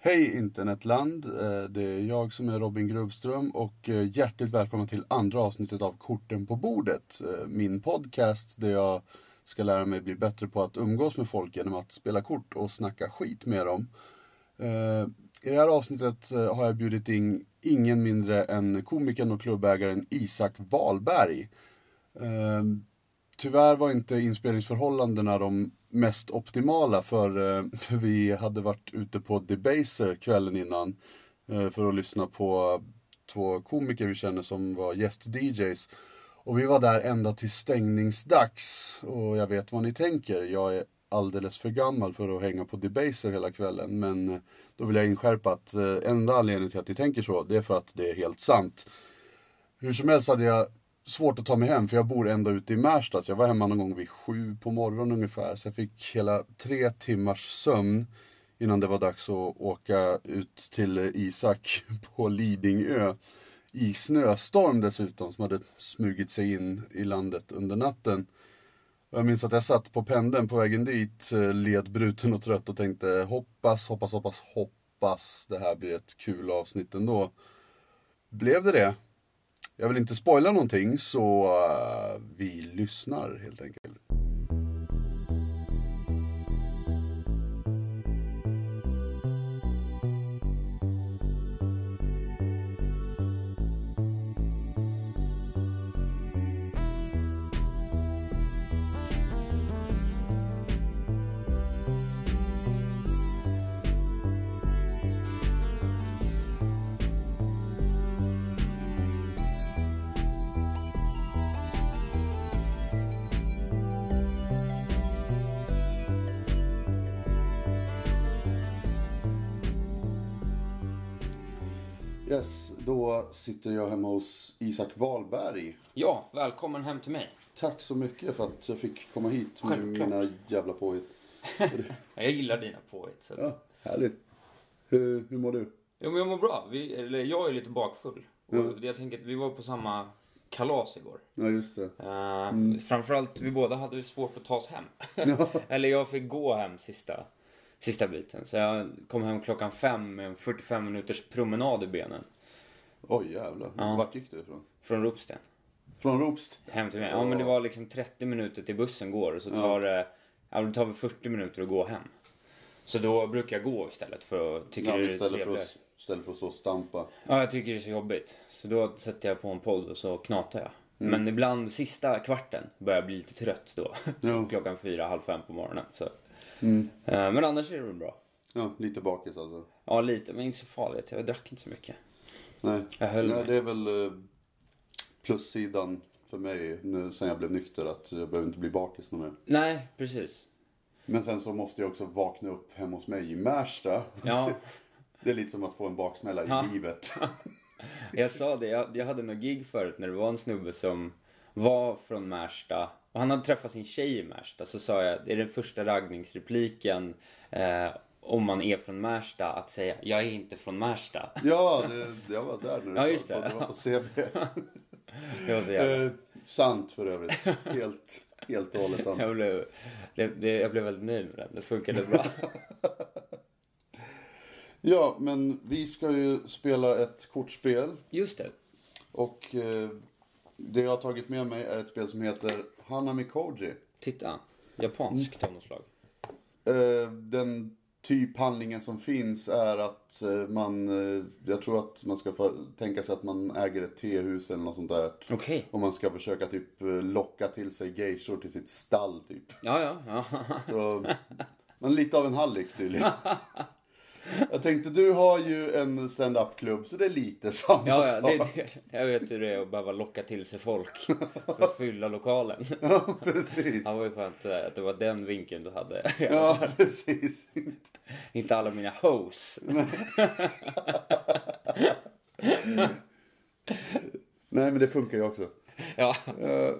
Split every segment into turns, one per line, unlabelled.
Hej internetland! Eh, Det är jag som är Robin Grubström och eh, hjärtligt välkomna till andra avsnittet av Korten på bordet. eh, Min podcast där jag ska lära mig bli bättre på att umgås med folk genom att spela kort och snacka skit med dem. Eh, I det här avsnittet eh, har jag bjudit in ingen mindre än komikern och klubbägaren Isak Wahlberg. Eh, Tyvärr var inte inspelningsförhållandena de mest optimala för, eh, för vi hade varit ute på Debaser kvällen innan eh, för att lyssna på två komiker vi känner som var gäst-DJs. Och vi var där ända till stängningsdags och jag vet vad ni tänker. Jag är alldeles för gammal för att hänga på Debaser hela kvällen men eh, då vill jag inskärpa att eh, enda anledningen till att ni tänker så det är för att det är helt sant. Hur som helst hade jag svårt att ta mig hem för jag bor ända ute i Märsta. Så jag var hemma någon gång vid sju på morgonen ungefär. Så jag fick hela tre timmars sömn innan det var dags att åka ut till Isak på Lidingö. I snöstorm dessutom som hade smugit sig in i landet under natten. Jag minns att jag satt på pendeln på vägen dit, eh, ledbruten och trött och tänkte hoppas, hoppas, hoppas, hoppas det här blir ett kul avsnitt ändå. Blev det det? Jag vill inte spoila någonting så eh, vi lyssnar helt enkelt. Yes, då sitter jag hemma hos Isak Wahlberg.
Ja, välkommen hem till mig.
Tack så mycket för att jag fick komma hit med
Självklart.
mina jävla påhitt.
Ja, Jag gillar dina påhitt. Så att...
Ja, härligt. Hur, hur mår du?
Jo, men jag mår bra. Vi, eller jag är lite bakfull. Och det jag tänker att vi var på samma kalas igår.
Ja, just det.
Eh,
Mm.
Framförallt vi båda hade svårt att ta oss hem. eller jag fick gå hem sista, sista biten. Så jag kom hem klockan fem med en 45 minuters promenad i benen.
Oj, jävlar. Vart gick du ifrån?
Från Ropsten.
Från Ropst?
Hem till mig. Ja, men det var liksom 30 minuter till bussen går. Och så tar det, ja, det tar väl 40 minuter att gå hem. Så då brukar jag gå istället för att tycka
Ja,
det är
istället för,
trevligare.
att, istället för att stå och stampa.
Ja, jag tycker det är så jobbigt. Så då sätter jag på en podd och så knatar jag.
Mm.
Men ibland sista kvarten börjar jag bli lite trött då.
Ja. Mm.
Klockan fyra, halv fem på morgonen. Så. Eh, Men annars är det väl bra.
Ja, lite bakis alltså.
Ja, lite, men inte så farligt. Jag drack inte så mycket.
Nej,
Jag höll
Nej
mig.
det är väl eh, plussidan för mig nu sen jag blev nykter att jag behöver inte bli bakis någon mer.
Nej, precis.
Men sen så måste jag också vakna upp hemma hos mig i Märsta.
Ja,
Det är lite som att få en baksmälla
Ja.
i livet.
jag sa det. Jag, jag hade något gig förut när det var en snubbe som var från Märsta. Och han hade träffat sin tjej i Märsta. Så sa jag, det är den första raggningsrepliken eh, om man är från Märsta att säga, jag är inte från Märsta.
Ja, det, jag var där när du
Ja,
sa
just
att
det.
du var på CB.
Det var så jävla...
eh, sant för övrigt. Helt, helt och hållet sant.
Jag blev, det, det, jag blev väldigt nöjd med den. Det funkade bra.
Ja, men vi ska ju spela ett kortspel.
Just det.
Och eh, det jag har tagit med mig är ett spel som heter Hanami Koji.
Titta. Japanskt av något slag.
Eh, den typ handlingen som finns är att eh, man, eh, jag tror att man ska få, tänka sig att man äger ett tehus eller något sånt där.
Okej.
Och man ska försöka typ eh, locka till sig geishor till sitt stall typ.
Ja, ja, ja.
Så, men lite av en hallick tydligen. Jag tänkte du har ju en stand-up-klubb så det är lite samma
Ja, ja,
sak.
det, det, jag vet hur det är att behöva locka till sig folk för att fylla lokalen.
Ja, precis.
Ja, det var ju skönt eh, att det var den vinkeln du hade.
Ja, precis.
Inte alla mina hoes.
Nej, men det funkar ju också.
Ja,
Eh,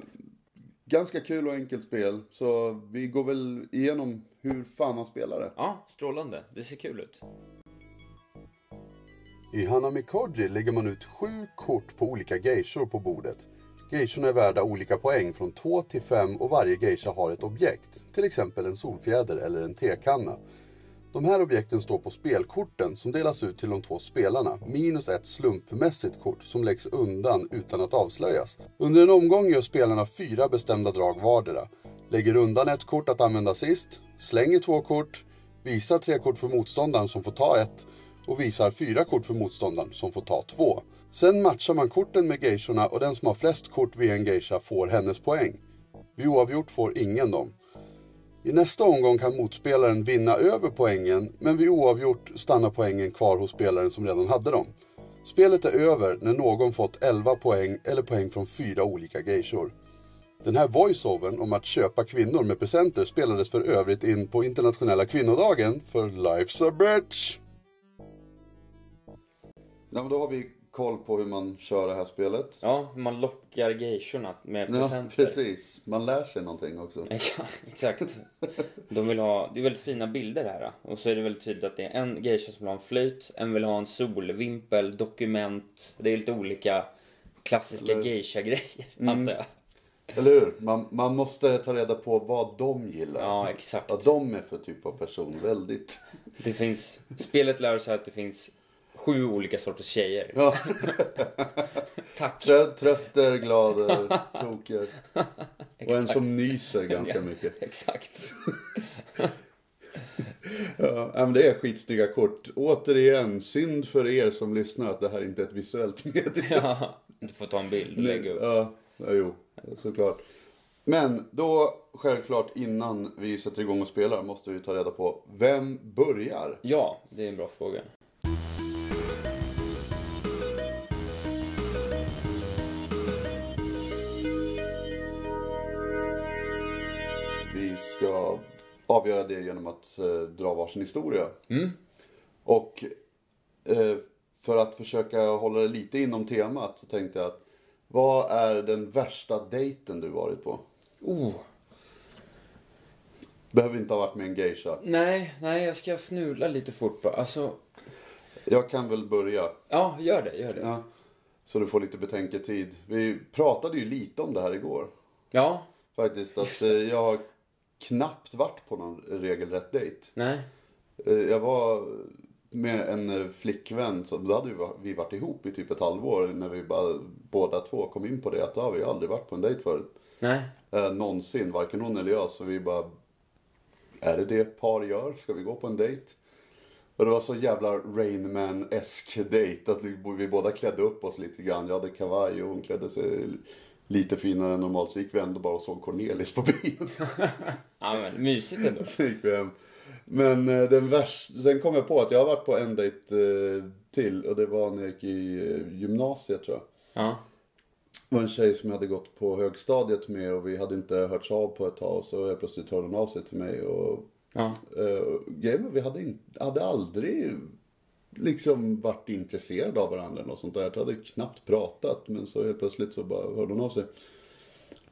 ganska kul och enkelt spel. Så vi går väl igenom hur fan man spelar det.
ja strålande. Det ser kul ut.
I Hanami Koji lägger man ut sju kort på olika geishor på bordet. Geishorna är värda olika poäng från 2 till 5 och varje geisha har ett objekt, till exempel en solfjäder eller en tekanna. De här objekten står på spelkorten som delas ut till de två spelarna, minus ett slumpmässigt kort som läggs undan utan att avslöjas. Under en omgång gör spelarna fyra bestämda drag vardera. Lägger undan ett kort att använda sist, slänger två kort, visar tre kort för motståndaren som får ta ett och visar fyra kort för motståndaren som får ta två. Sen matchar man korten med geishorna och den som har flest kort vid en geisha får hennes poäng. Vid oavgjort får ingen dem. I nästa omgång kan motspelaren vinna över poängen, men vid oavgjort stannar poängen kvar hos spelaren som redan hade dem. Spelet är över när någon fått 11 poäng eller poäng från fyra olika geishor. Den här voiceovern om att köpa kvinnor med presenter spelades för övrigt in på internationella kvinnodagen för Life's a Bitch. Ja, men då har vi koll på hur man kör det här spelet.
Ja, man lockar geishorna med presenter.
precis. Man lär sig någonting också.
Exakt, Exakt. De vill ha, det är väldigt fina bilder här. Och så är det väldigt tydligt att det är en geisha som vill ha en flöjt, en vill ha en solvimpel, dokument. Det är lite olika klassiska
Eller- Mm.
geisha-grejer, antar jag.
Eller hur? Man, man måste ta reda på vad de gillar.
Ja, exakt.
Vad de är för typ av person. Väldigt.
Det finns, spelet lär oss att det finns sju olika sorters tjejer.
Ja.
Tack!
Trö- Trötter, glader, toker. Och en
Exakt.
som nyser ganska mycket.
Exakt.
Ja, ja, men det är skitsnygga kort. Återigen, synd för er som lyssnar att det här inte är ett visuellt medium.
Ja, du får ta en bild och lägga upp.
Ja, ja, jo, såklart. Men då, självklart innan vi sätter igång och spelar måste vi ta reda på vem börjar?
Ja, det är en bra fråga.
Vi ska avgöra det genom att eh, dra varsin historia.
Mm.
Och eh, för att försöka hålla det lite inom temat så tänkte jag att vad är den värsta dejten du varit på?
Oh.
Behöver inte ha varit med en geisha.
Nej, nej, jag ska fnula lite fort bara. Alltså,
Jag kan väl börja.
ja, gör det, gör det.
Ja. Så du får lite betänketid. Vi pratade ju lite om det här igår.
Ja,
Faktiskt att eh, jag har knappt varit på någon regelrätt dejt.
nej.
Eh, Jag var med en eh, flickvän, så då hade vi va- vi varit ihop i typ ett halvår när vi bara, båda två kom in på det att ja, vi har aldrig varit på en dejt förut.
Nej.
Eh, någonsin, varken hon eller jag. Så vi bara, är det det par gör? Ska vi gå på en dejt? Och det var så jävla Rain Man-esk dejt att vi, vi båda klädde upp oss lite grann. Jag hade kavaj och hon klädde sig lite finare än normalt. Så gick vi ändå bara och såg Cornelis på bio.
Ja, men mysigt ändå.
Så gick vi hem. Men eh, den värst, sen kom jag på att jag har varit på en dejt eh, till och det var när jag gick i eh, gymnasiet tror jag.
Ja.
Det var en tjej som jag hade gått på högstadiet med och vi hade inte hörts av på ett tag och så helt plötsligt hörde hon av sig till mig och
Ja.
eh, grejen var att vi hade, in, hade aldrig liksom varit intresserade av varandra eller något sånt där. Vi hade knappt pratat men så helt plötsligt så bara hörde hon av sig.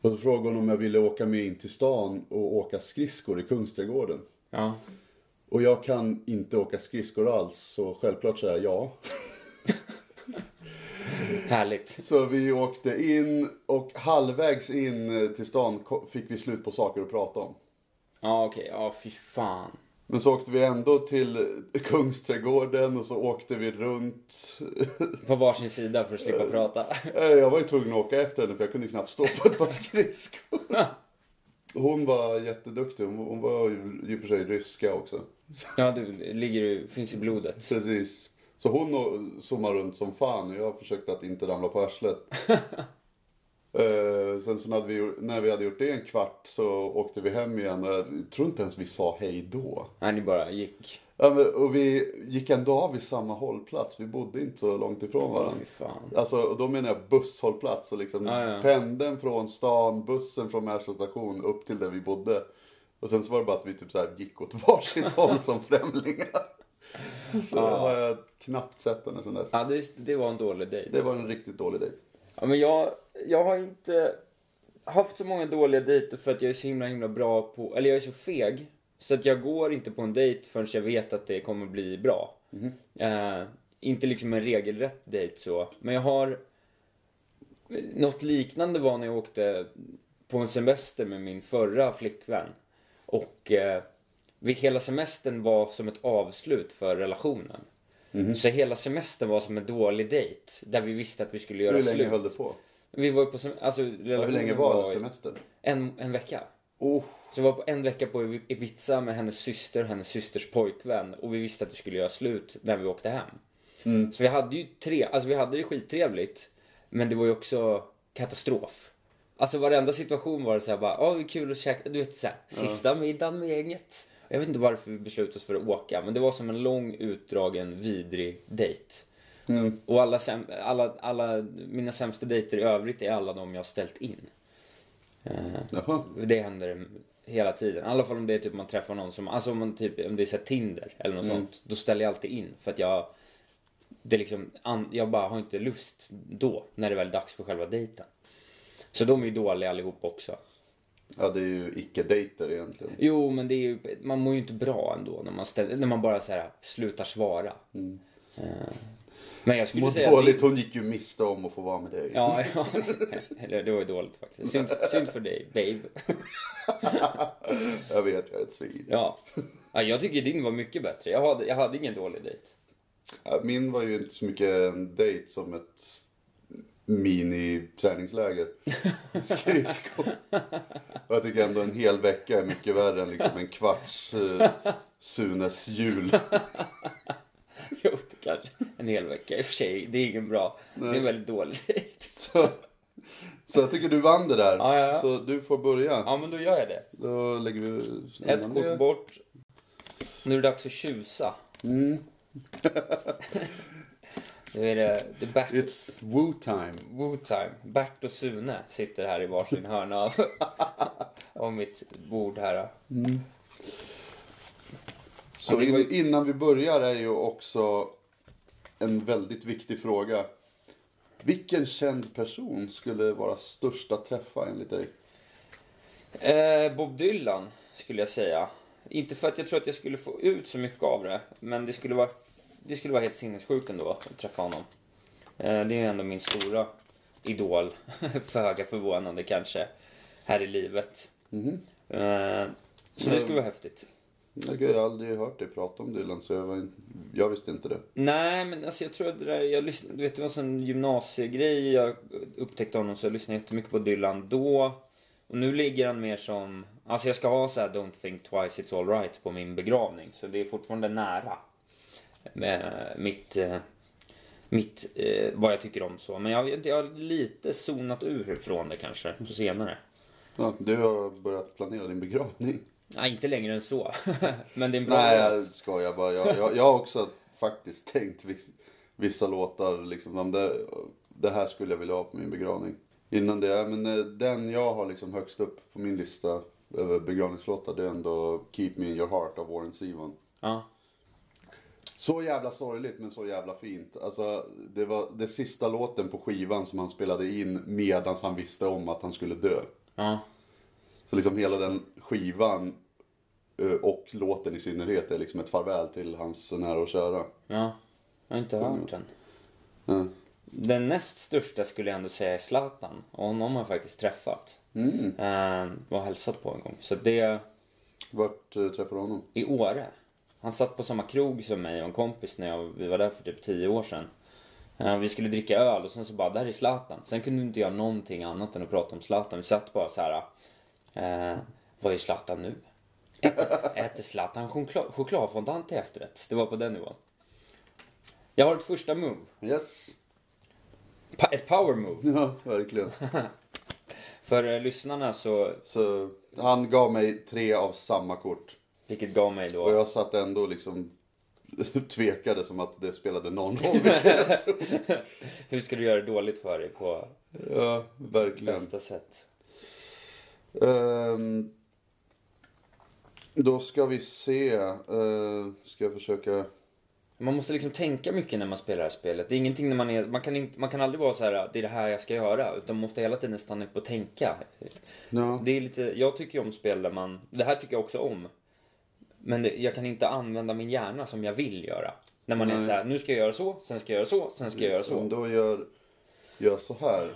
Och så frågade hon om jag ville åka med in till stan och åka skridskor i Kungsträdgården.
Ja.
Och jag kan inte åka skridskor alls, så självklart säger jag ja.
Härligt.
Så vi åkte in och halvvägs in till stan ko- fick vi slut på saker att prata om.
Ja, okej. Ja, fy fan.
Men så åkte vi ändå till Kungsträdgården och så åkte vi runt.
På varsin sida för att slippa prata.
Eh, Jag var ju tvungen att åka efter henne för jag kunde knappt stå på ett par skridskor. Hon var jätteduktig. Hon hon var ju i och för sig ryska också.
Ja, du ligger ju, finns i blodet.
Precis. Så hon och- zoomar runt som fan och jag försökte att inte ramla på arslet. Eh, sen så hade vi, gjort- när vi hade gjort det en kvart så åkte vi hem igen och jag tror inte ens vi sa hej då.
Nej, ni bara gick.
Ja, men- Och vi gick ändå av vid samma hållplats, vi bodde inte så långt ifrån
Ja,
varandra.
fy fan.
Alltså, och då menar jag busshållplats. Och liksom
Ja, ja.
Pendeln från stan, bussen från Märsta station upp till där vi bodde. Och sen så var det bara att vi typ så här gick åt varsitt håll som främlingar. Så har jag knappt sett henne sen dess.
Ja, det, det var en dålig dejt.
Det var en riktigt dålig dejt.
Ja, men jag, jag har inte haft så många dåliga dejter för att jag är så himla, himla bra på... Eller jag är så feg. Så att jag går inte på en dejt förrän jag vet att det kommer bli bra.
Mhm.
Eh, inte liksom en regelrätt dejt så. Men jag har... Något liknande var när jag åkte på en semester med min förra flickvän. Och eh, vi- hela semestern var som ett avslut för relationen.
Mhm.
Så hela semestern var som en dålig dejt. Där vi visste att vi skulle göra
Hur länge
slut.
höll det på?
Vi var ju på sem- alltså,
Ja, hur
relationen
länge var,
i-
det semestern?
En, en vecka.
Oh,
Så vi var på en vecka på Ibiza med hennes syster och hennes systers pojkvän. Och vi visste att vi skulle göra slut när vi åkte hem.
Mm.
Så vi hade ju tre, alltså vi hade det skittrevligt. Men det var ju också katastrof. Alltså varenda situation var det såhär bara, ja det är kul att käka, du vet såhär, sista middagen med gänget. Jag vet inte varför vi beslutade oss för att åka, men det var som en lång utdragen vidrig dejt.
mm,
Och alla, säm- alla, alla mina sämsta dejter i övrigt är alla de jag har ställt in. Eh,
jaha.
det händer hela tiden. I alla fall om det är typ man träffar någon som, alltså om man typ, om det är så här Tinder eller något
Mm.
sånt. Då ställer jag alltid in för att jag, det är liksom, an, jag bara har inte lust då. När det väl är dags för själva dejten. Så de är ju dåliga allihop också.
Ja, det är ju icke-dejter egentligen.
Jo men det är ju, man mår ju inte bra ändå när man ställer, när man bara så här slutar svara. Eh, Men jag skulle
Mm. Mår
säga
dåligt, hon gick ju miste om att få vara med dig.
Ja, ja. Eller det var ju dåligt faktiskt. Synd, synd för dig, babe.
Jag vet, jag är ett svin.
Ja. ja. Jag tycker din var mycket bättre. Jag hade, jag hade ingen dålig dejt.
Ja, Min var ju inte så mycket en dejt som ett mini-träningsläger. Skridskor. Och Jag tycker ändå en hel vecka är mycket värre än liksom en kvarts eh, Sunes jul.
Jo, det kanske. En hel vecka. I och för sig, det är ingen bra. Det är en väldigt dålig dejt.
Så, så jag tycker du vann det där.
Ja, ja, ja.
Så du får börja.
Ja, men då gör jag det.
Då lägger vi
Ett
undan det.
kort bort. Nu är det dags att tjusa.
Mm.
Nu är det, det är Bert,
It's woo time.
Woo-time. Bert och Sune sitter här i varsin hörna av, av mitt bord här. Ja,
Så
Mm. det var
in,
ju-
innan vi börjar är ju också en väldigt viktig fråga. Vilken känd person skulle vara största träffa enligt dig?
Eh, Bob Dylan skulle jag säga. Inte för att jag tror att jag skulle få ut så mycket av det, men det skulle vara, det skulle vara helt sinnessjukt ändå att träffa honom. Eh, det är ju ändå min stora idol, föga förvånande kanske, här i livet. Eh, så det skulle vara häftigt.
Jag har ju aldrig hört dig prata om Dylan så jag, var in... jag visste inte det.
Nej, men alltså jag tror att det där, jag lyssnade, du vet det var en sån gymnasiegrej, jag upptäckte honom så jag lyssnade jättemycket på Dylan då. Och nu ligger han mer som, alltså jag ska ha så här Don't think twice it's alright på min begravning. Så det är fortfarande nära. Med mitt, eh, mitt, eh, vad jag tycker om så. Men jag, vet- jag har lite zonat ur ifrån det kanske, på senare.
Ja, du har börjat planera din begravning.
Nej, inte längre än så. men det är en bra
Nej,
låt.
jag skojar bara. Jag, jag, jag har också faktiskt tänkt viss, vissa låtar liksom. Om det, det här skulle jag vilja ha på min begravning. Innan det, ja, men eh, den jag har liksom högst upp på min lista över begravningslåtar det är ändå Keep Me In Your Heart av Warren Zevon.
Ja.
Så jävla sorgligt men så jävla fint. Alltså, det var det sista låten på skivan som han spelade in medan han visste om att han skulle dö.
Ja.
Så liksom hela den skivan eh, och låten i synnerhet är liksom ett farväl till hans nära och kära.
Ja. Jag har inte hört den.
Mm.
Den näst största skulle jag ändå säga är Zlatan. Och honom har jag faktiskt träffat. Ehm, och hälsat på en gång. Så det
Vart eh, träffade du honom?
i Åre. Han satt på samma krog som mig och en kompis när jag, vi var där för typ 10 år sedan. Eh, Vi skulle dricka öl och sen så bara, där är Zlatan. Sen kunde vi inte göra någonting annat än att prata om Zlatan. Vi satt bara så här. Eh, vad är Zlatan nu? Äter- Äter Zlatan choklad, chokladfondant till efterrätt? Det var på den nivån. Jag har ett första move.
Yes!
Pa- ett power move.
Ja, verkligen.
För eh, lyssnarna så
Så han gav mig tre av samma kort.
Vilket gav mig
Och
då...
jag satt ändå liksom tvekade som att det spelade någon roll.
Hur ska du göra det dåligt för dig på
Ja, verkligen.
bästa sätt?
Ehm, då ska vi se. Eh, ska jag försöka...
Man måste liksom tänka mycket när man spelar det här spelet. Det är ingenting när man är... Man kan, inte, man kan aldrig vara så här, det är det här jag ska göra. Utan man måste hela tiden stanna upp och tänka.
Ja.
Det är lite... Jag tycker ju om spel där man... Det här tycker jag också om. Men det, jag kan inte använda min hjärna som jag vill göra. När man är
Nej.
så här, nu ska jag göra så, sen ska jag göra så, sen ska jag göra
Om
så.
då gör, gör så här.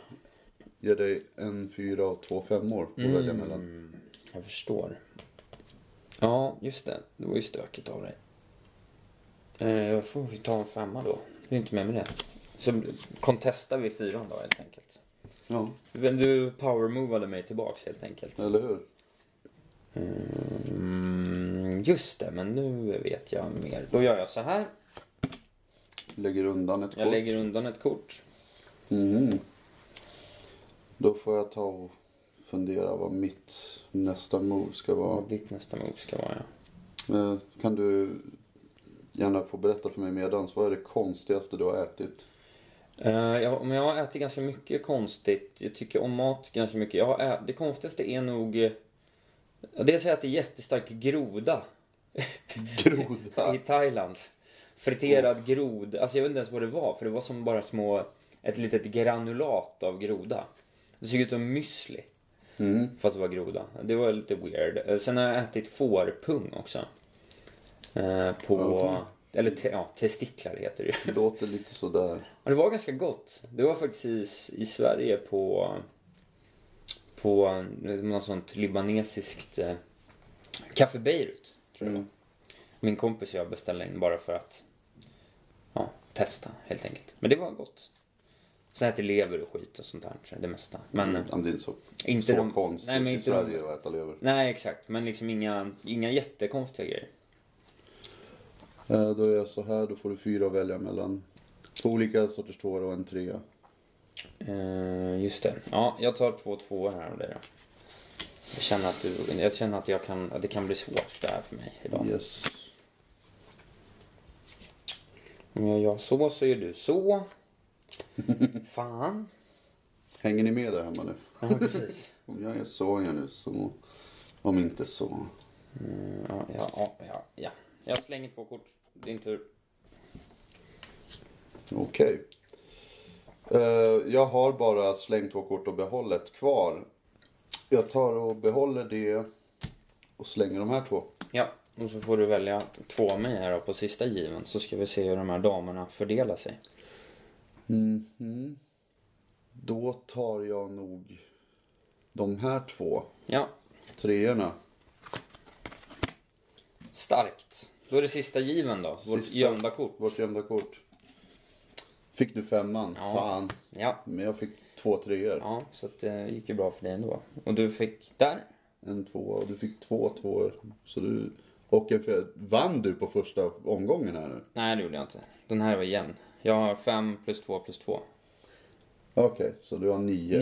Ger
Mm.
dig en fyra och två femmor att välja mellan.
Jag förstår. Ja, just det. Det var ju stökigt av dig. Eh, Jag får vi ta en femma då. Du är inte med med det. Så kontestar vi fyran då helt enkelt.
Ja,
Men du powermovade mig tillbaks helt enkelt.
eller hur?
Mm, just det, men nu vet jag mer. Då gör jag så här.
Lägger undan ett
Jag
kort.
lägger undan ett kort.
Mm. Då får jag ta och fundera vad mitt nästa move ska vara.
Vad ditt nästa move ska vara ja.
Eh, Kan du gärna få berätta för mig medans, vad är det konstigaste du har ätit?
Eh, Jag, men jag har ätit ganska mycket konstigt. Jag tycker om mat ganska mycket. Jag har ä- det konstigaste är nog... eh, ja, Dels har jag ätit jättestark groda i
Groda!
Thailand. Friterad grod. Alltså jag vet inte ens vad det var. För det var som bara små... Ett litet granulat av groda. Det såg ut som müsli.
Mm.
Fast det var groda. Det var lite weird. Eh, Sen har jag ätit fårpung också. Eh, på...
Okej.
Eller te, ja, testiklar heter det ju.
Låter lite sådär.
Ja, det var ganska gott. Det var faktiskt i, i Sverige på, på något sånt libanesiskt eh, Café Beirut. Tror
Mm.
jag. det var. Min kompis och jag beställde in bara för att ja, testa helt enkelt. Men det var gott. Sen äter lever och skit och sånt där. Det mesta. Men eh,
Mm. Ja, men Det är inte så,
inte
så
de-
konstigt
nej, men
i
inte de-
Sverige att äta lever.
nej exakt. Men liksom inga, inga jättekonstiga grejer.
Eh, Då är jag så här, då får du fyra att välja mellan. Två olika sorters tår och en trea.
Eh, just det. Ja, jag tar två tvåor här av dig då. Jag känner att, du, jag känner att, jag kan, att det kan bli svårt det här för mig idag.
Yes.
Om jag gör så så gör du så. Fan.
Hänger ni med där hemma nu?
Ja, precis.
Om jag är så är jag nu så. Om inte så.
Mm, ja, ja, ja, ja, ja. Jag slänger två kort. Din tur.
Okej. Eh, jag har bara slängt två kort och behållet kvar. Jag tar och behåller det och slänger de här två.
Ja, och så får du välja två av mig här då på sista given. Så ska vi se hur de här damerna fördelar sig.
Mhm. Då tar jag nog de här två
Ja,
treorna.
starkt. Då är det sista given då. Vårt
Sista.
gömda kort.
Vårt gömda kort. Fick du femman?
Ja.
Fan.
Ja.
Men jag fick två treor.
Ja, så att det gick ju bra för dig ändå. Och du fick där.
En tvåa och du fick två tvåor. Så du... Och en fjärde. Vann du på första omgången här nu?
Nej, det gjorde jag inte. Den här var jämn. Jag har fem plus två plus två.
Okej, så du har nio.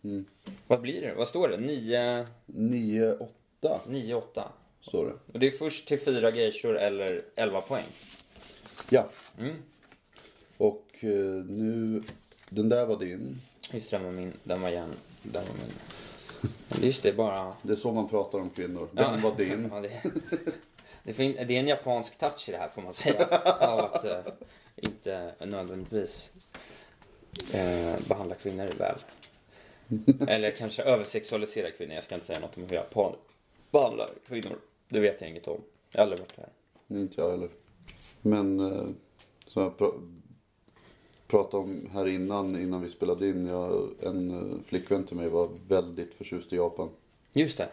Nio. Vad blir det? Vad står det? Nio,
Nio, åtta
nio, åtta.
står det.
Och det är först till fyra geishor eller 11 poäng.
Ja.
Mm.
Och eh, nu... Den där var din.
Just det, den var min. Den var jämn. Den var min. Men Just det, bara...
Det är så man pratar om kvinnor. Den
Ja.
var din.
Ja, det, det, fin, det är en japansk touch i det här får man säga. Av att eh, inte nödvändigtvis eh, behandla kvinnor väl. Eller kanske översexualisera kvinnor. Jag ska inte säga något om hur japaner behandlar kvinnor. Det vet jag inget om. Jag har aldrig varit där.
Inte jag heller. Men eh, som jag pra- pratade om här innan, innan vi spelade in. Jag, en eh, flickvän till mig var väldigt förtjust i Japan.
Just det.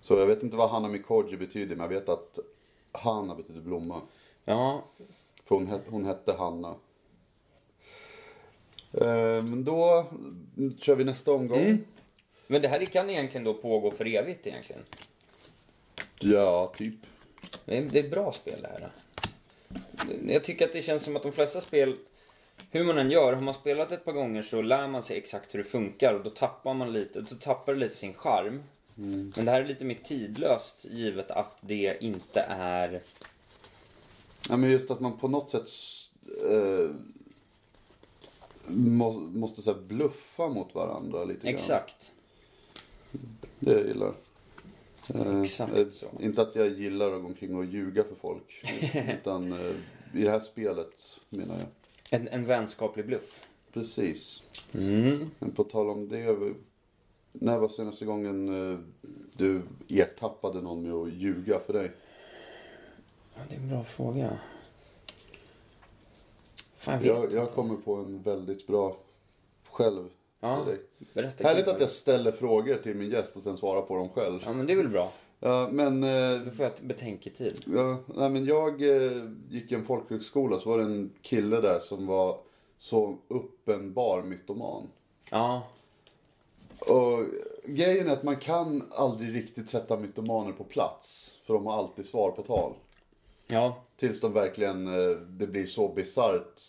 Så jag vet inte vad Hanna Mikoji betyder, men jag vet att Hanna betyder blomma.
Ja,
För hon, het, hon hette Hanna. Eh, Men då mm, kör vi nästa omgång.
men det här kan egentligen då pågå för evigt egentligen.
Ja, typ.
Det är, det är ett bra spel det här. Jag tycker att det känns som att de flesta spel, hur man än gör, har man spelat ett par gånger så lär man sig exakt hur det funkar och då tappar man lite, då tappar det lite sin charm.
Mm.
Men det här är lite mer tidlöst givet att det inte är...
Ja, men just att man på något sätt eh, må, måste så här, bluffa mot varandra lite grann.
Exakt.
Det jag gillar. Eh,
Exakt
eh,
så.
Inte att jag gillar att gå omkring och ljuga för folk. utan eh, i det här spelet menar jag.
En, en vänskaplig bluff.
Precis.
Mm.
Men på tal om det. vi- När var senaste gången eh, du ertappade någon med att ljuga för dig?
Ja, det är en bra fråga. Fan, jag vet.
Jag, jag kommer på en väldigt bra själv.
Ja,
direkt.
berätta.
Härligt att jag ställer frågor till min gäst och sen svarar på dem själv.
Ja, men det är väl bra.
Ja, men... eh,
Då får jag ett betänketid.
Ja, nej men jag eh, gick i en folkhögskola så var det en kille där som var så uppenbar mytoman.
Ja,
Och grejen är att man kan aldrig riktigt sätta mytomaner på plats. För de har alltid svar på tal.
ja.
Tills de verkligen, eh, det blir så bisarrt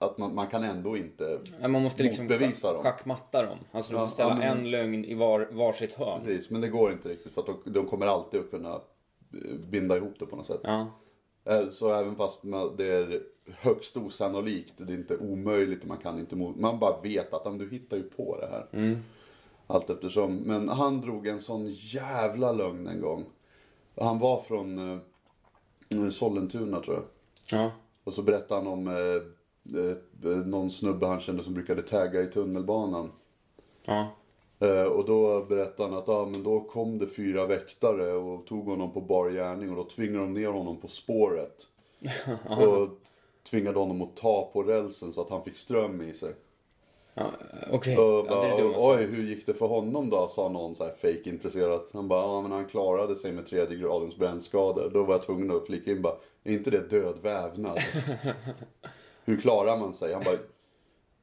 att man, man kan ändå inte.
Men Man måste liksom
Motbevisa dem.
schackmatta dem. Alltså du
Ja,
får ställa
ja, men-
en lögn i var, varsitt hörn.
Precis, men det går inte riktigt för att de, de kommer alltid att kunna eh, binda ihop det på något sätt.
Ja.
Eh, Så även fast man- det är högst osannolikt, det är inte omöjligt, man kan inte mot, man bara vet att "Ja, men du hittar ju på det här.
mm.
Allt eftersom. Men han drog en sån jävla lögn en gång. Han var från eh, Sollentuna tror jag.
Ja.
Och så berättade han om eh, eh, någon snubbe han kände som brukade tagga i tunnelbanan.
Ja.
Eh, Och då berättade han att ah, men då kom det fyra väktare och tog honom på bar gärning och då tvingade de ner honom på spåret. och tvingade honom att ta på rälsen så att han fick ström i sig.
ja. Okej.
Och
Ja, det
bara,
är alltså. det dummaste.
Oj, hur gick det för honom då? Sa någon så här fake intresserat. Han bara, ja men han klarade sig med tredje gradens brännskador. Då var jag tvungen att flika in bara, är inte det död vävnad? hur klarar man sig? Han bara,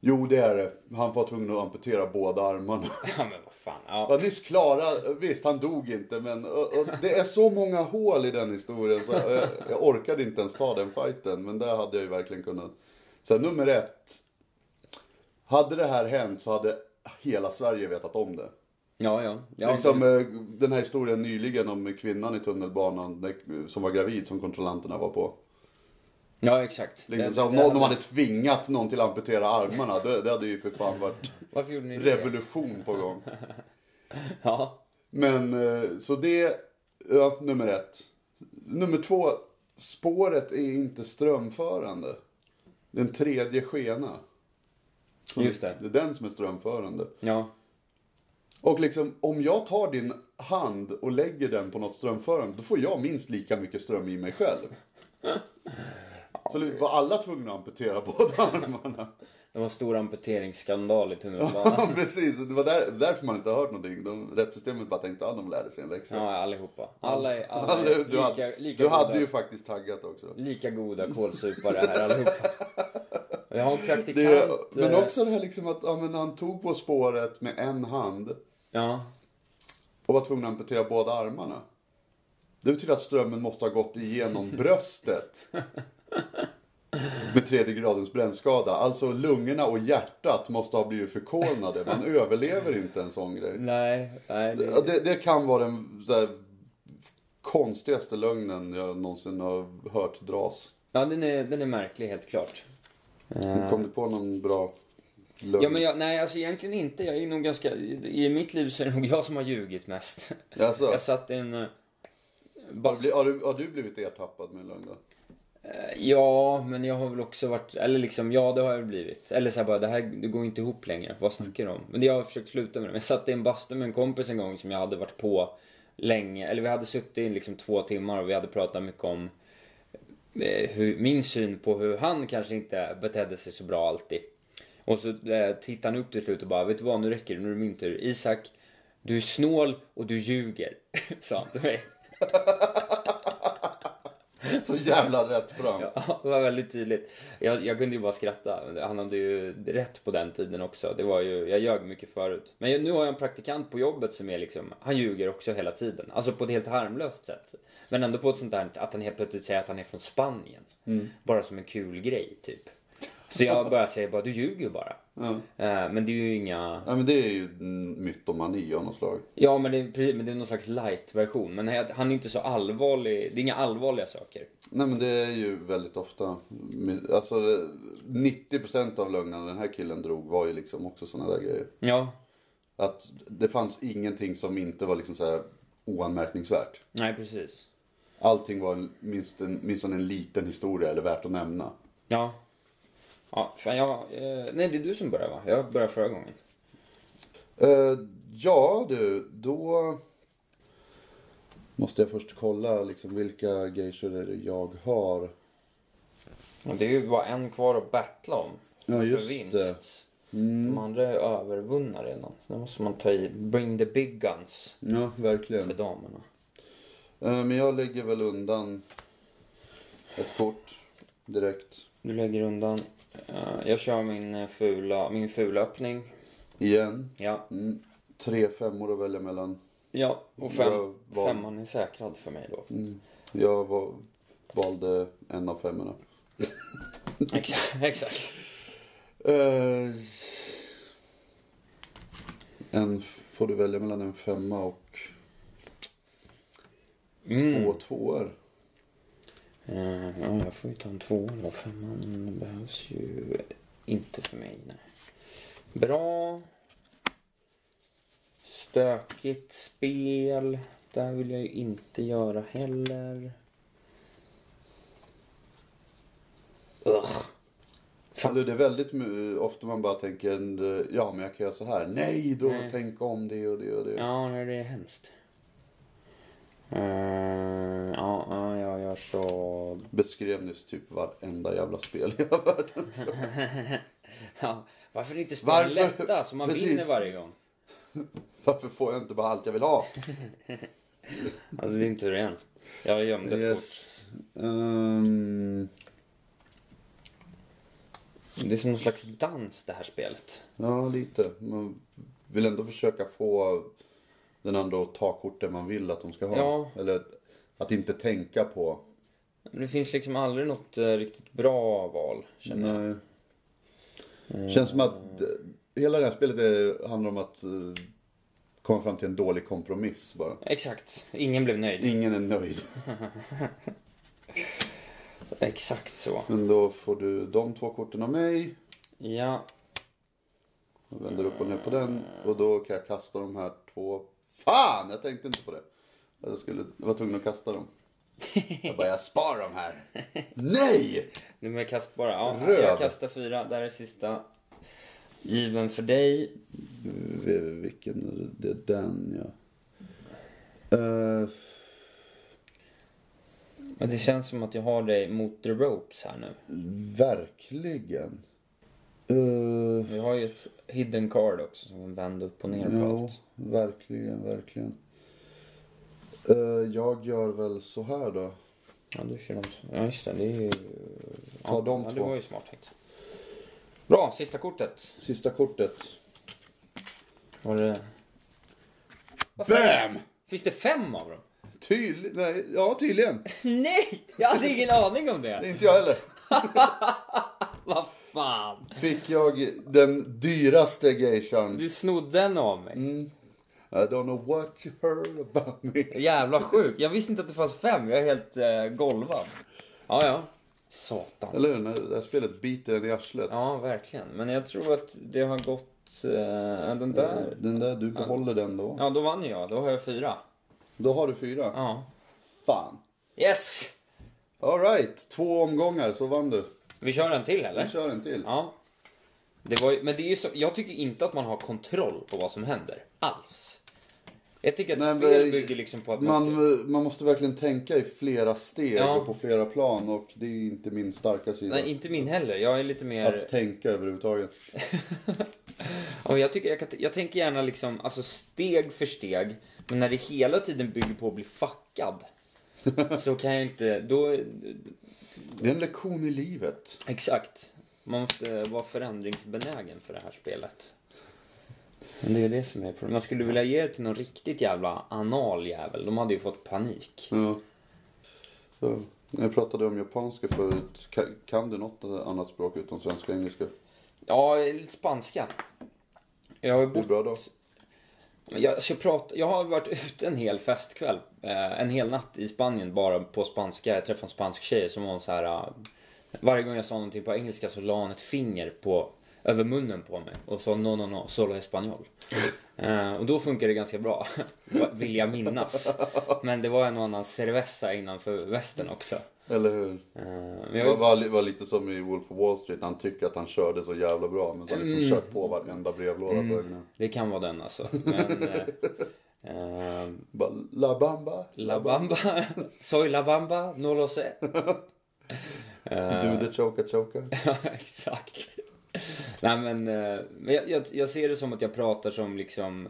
jo det är det. Han var tvungen att amputera båda armarna.
Ja men vad fan. Ja.
Ja, nyss Klara, visst han dog inte men och, och, det är så många hål i den historien så jag, jag orkade inte ens ta den fighten. Men där hade jag ju verkligen kunnat. Så nummer ett. Hade det här hänt så hade hela Sverige vetat om det.
Ja ja. ja
liksom
men-
eh, den här historien nyligen om kvinnan i tunnelbanan eh, som var gravid som kontrollanterna var på.
ja exakt.
Liksom,
Det-
så om
det
någon
hade-
hade tvingat någon till att amputera armarna, det, det hade ju för fan varit
Varför gjorde ni det?
revolution på gång.
Ja.
Men eh, så det, ja, nummer ett. Nummer två, spåret är inte strömförande. Den tredje skena.
Just det.
Det är den som är strömförande.
Ja.
Och liksom, om jag tar din hand och lägger den på något strömförande, då får jag minst lika mycket ström i mig själv. Så det var alla tvungna att amputera båda armarna.
Det var en stor amputeringsskandal i tunnelbanan.
Precis, det var där, därför man inte har hört någonting. De, rättssystemet bara tänkte att de lärde sig en läxa.
Ja allihopa. Alla är, alla
du,
är
du, hade,
lika, lika
du
goda.
hade ju faktiskt taggat också.
lika goda kålsupare här allihopa. Jag har en praktikant.
Det är, men
eh,
också det här liksom att ja, men han tog på spåret med en hand
Ja,
och var tvungen att amputera båda armarna. Det betyder att strömmen måste ha gått igenom bröstet. Med tredje gradens brännskada. Alltså lungorna och hjärtat måste ha blivit förkolnade. Man överlever inte en sån grej.
nej, nej.
Ja,
Det,
Det, det kan vara den så här, konstigaste lögnen jag någonsin har hört dras.
ja, den är, den är märklig helt klart. Eh,
Kom du på någon bra lögn?
Ja, men jag, nej, alltså egentligen inte. Jag är nog ganska, i i mitt liv så är det nog jag som har ljugit mest.
Jaså?
Jag satt i en... eh,
Har, bli- har, du, har du blivit ertappad med en lögn då?
Eh, Ja, men jag har väl också varit, eller liksom, ja det har jag blivit. Eller så här bara, det här det går inte ihop längre. Vad snackar du om? Men det jag har försökt sluta med det. Men Jag satt i en bastu med en kompis en gång som jag hade varit på länge. Eller vi hade suttit i liksom två timmar och vi hade pratat mycket om eh, hur, min syn på hur han kanske inte betedde sig så bra alltid. Och så eh, tittade han upp till slut och bara, vet du vad, nu räcker det, nu är det min tur. Isak, du är snål och du ljuger, sa han till mig.
Så jävla rätt fram.
Ja, det var väldigt tydligt. Jag, jag kunde ju bara skratta. Han hade ju rätt på den tiden också. Det var ju, jag ljög mycket förut. Men jag, nu har jag en praktikant på jobbet som är liksom, han ljuger också hela tiden. Alltså på ett helt harmlöst sätt. Men ändå på ett sånt där, att han helt plötsligt säger att han är från Spanien. Bara som en kul grej typ. Så jag bara säger bara, du ljuger bara. Eh, Men det är ju inga,
Nej, men det är ju en mytomani av något slag.
ja men det, är precis, men det är någon slags light-version. Men han är inte så allvarlig, det är inga allvarliga saker.
Nej men det är ju väldigt ofta. Alltså det- 90% av lögnerna den här killen drog var ju liksom också sådana där grejer.
Ja,
Att det fanns ingenting som inte var liksom så här oanmärkningsvärt.
nej precis.
Allting var en- minst en, minst en liten historia eller värt att nämna.
Ja. Ja, fan jag... Eh, nej, det är du som börjar va? Jag började förra gången.
Eh, ja du, då måste jag först kolla liksom vilka geishor är det jag har.
Och det är ju bara en kvar att battla om.
Ja, just
för vinst.
det. Mm.
De andra är övervunna redan. Så då måste man ta i bring the big guns
Ja, verkligen.
för damerna.
Eh, Men jag lägger väl undan ett kort direkt.
Du lägger undan. Eh, jag kör min eh, fula, min fula öppning.
Igen.
Ja.
Mm. Tre femmor att välja mellan.
Ja, och fem,
Bra val. Mm.
femman är säkrad för mig då.
Jag va- valde en av femmorna.
Exakt. exakt.
Eh, en får du välja mellan en femma och
Mm.
två tvåor.
Eh, ja, jag får ju ta en tvåa då. Femman behövs ju inte för mig. Nej. Bra. Stökigt spel. Där vill jag ju inte göra heller. Ugh. Fan.
Eller det är väldigt mu- ofta man bara tänker ja men jag kan göra så här. Nej, då
Nej.
tänk om det och det och det.
Ja, nej, det är hemskt. Eh, ja, ja, jag gör så.
Beskrev nyss typ varenda jävla spel i hela världen.
ja, varför inte spela
Varför?
lätta så man
Precis.
vinner varje gång?
Varför får jag inte bara allt jag vill ha?
Alltså din tur igen. Jag gömde ett kort.
Yes. Ehm,
Det är som någon slags dans det här spelet.
ja, lite. Man vill ändå försöka få den andra att ta korten man vill att de ska ha.
Ja.
Eller att- att inte tänka på.
Men Det finns liksom aldrig något eh, riktigt bra val. Känner jag.
Nej. Känns som att eh, hela det här spelet är, handlar om att eh, komma fram till en dålig kompromiss bara.
Exakt. Ingen blev nöjd.
Ingen är nöjd.
Exakt så.
Men då får du de två korten av mig.
Ja.
Jag vänder upp och ner på den och då kan jag kasta de här två. Fan, jag tänkte inte på det. Att Jag skulle, jag var tvungen att kasta dem. Jag bara, jag spar de här. Nej!
Nu med kast bara. Ja,
Röd.
Jag kastar fyra. Där är sista. Given för dig.
V- Vilken är det? Det är den ja. Eh,
Men det känns som att jag har dig mot the ropes här nu.
verkligen. Eh,
Vi har ju ett hidden card också som vänder upp och ner på
ja,
allt.
verkligen, verkligen. Eh, jag gör väl så här då.
Ja, du kör de som... Ja, just det. Det är ju...
Ta
ja,
de
ja, det
två.
var ju smart tänkt. Bra, sista kortet.
Sista kortet.
Var det...
BAM!
Finns det fem av dem?
Tydlig, nej, ja tydligen.
Nej! Jag hade ingen aning om det.
Inte jag heller.
Vad fan.
fick jag den dyraste geishan. Mm.
Du snodde en av mig.
I don't know what you heard about me.
Jävla sjukt. Jag visste inte att det fanns fem. Jag är helt eh, golvad. Ja, ja. Satan.
Eller hur? När det här spelet biter en i arslet.
Ja, verkligen. Men jag tror att det har gått... Eh, den där...
Den där, du behåller den då.
Ja, då vann jag. Då har jag fyra.
Då har du fyra.
Ja.
Fan.
Yes!
Alright, två omgångar så vann du.
Vi kör en till
Vi
eller?
kör en till.
Ja. Det var ju, men det är ju så, jag tycker inte att man har kontroll på vad som händer. Alls. Jag tycker att
Nej,
spel
men-
bygger liksom på att man...
Man, man måste verkligen tänka i flera steg
Ja.
och på flera plan och det är inte min starka sida.
Nej, inte min heller. Jag är lite mer...
Att tänka överhuvudtaget.
Ja, men jag, tycker, jag, kan, jag tänker gärna liksom, alltså steg för steg. Men när det hela tiden bygger på att bli fuckad. så kan jag inte... Då...
Det är en lektion i livet.
Exakt. Man måste vara förändringsbenägen för det här spelet. Men det är ju det som är problemet. Man skulle vilja ge det till någon riktigt jävla anal jävel. De hade ju fått panik.
Ja. Så, jag pratade om japanska förut. Kan, kan du något annat språk utom svenska och engelska?
Ja, lite spanska. Jag har ju
Hur
bott...
bra då?
Jag, ska prata, jag har varit ute en hel festkväll. Eh, en hel natt i Spanien bara på spanska. Jag träffade en spansk tjej som var så här... eh, varje gång jag sa någonting på engelska så la hon ett finger på, över munnen på mig och sa no, no, no, solo español. Eh, och då funkar det ganska bra, vill jag minnas. Men det var en och annan cerveza innanför västen också.
Eller hur?
Eh, men
Det
jag,
var, var, var lite som i Wolf of Wall Street. Han tycker att han körde så jävla bra. Men så har han
Mm.
liksom kört på varenda brevlåda på ögonen.
det kan vara den alltså. Men, eh, eh,
Bara La Bamba.
La Bamba. Soy La Bamba, no lo sé. Eh,
Do the choka choka.
Ja, exakt. Nej men, eh, men jag, jag, jag ser det som att jag pratar som liksom,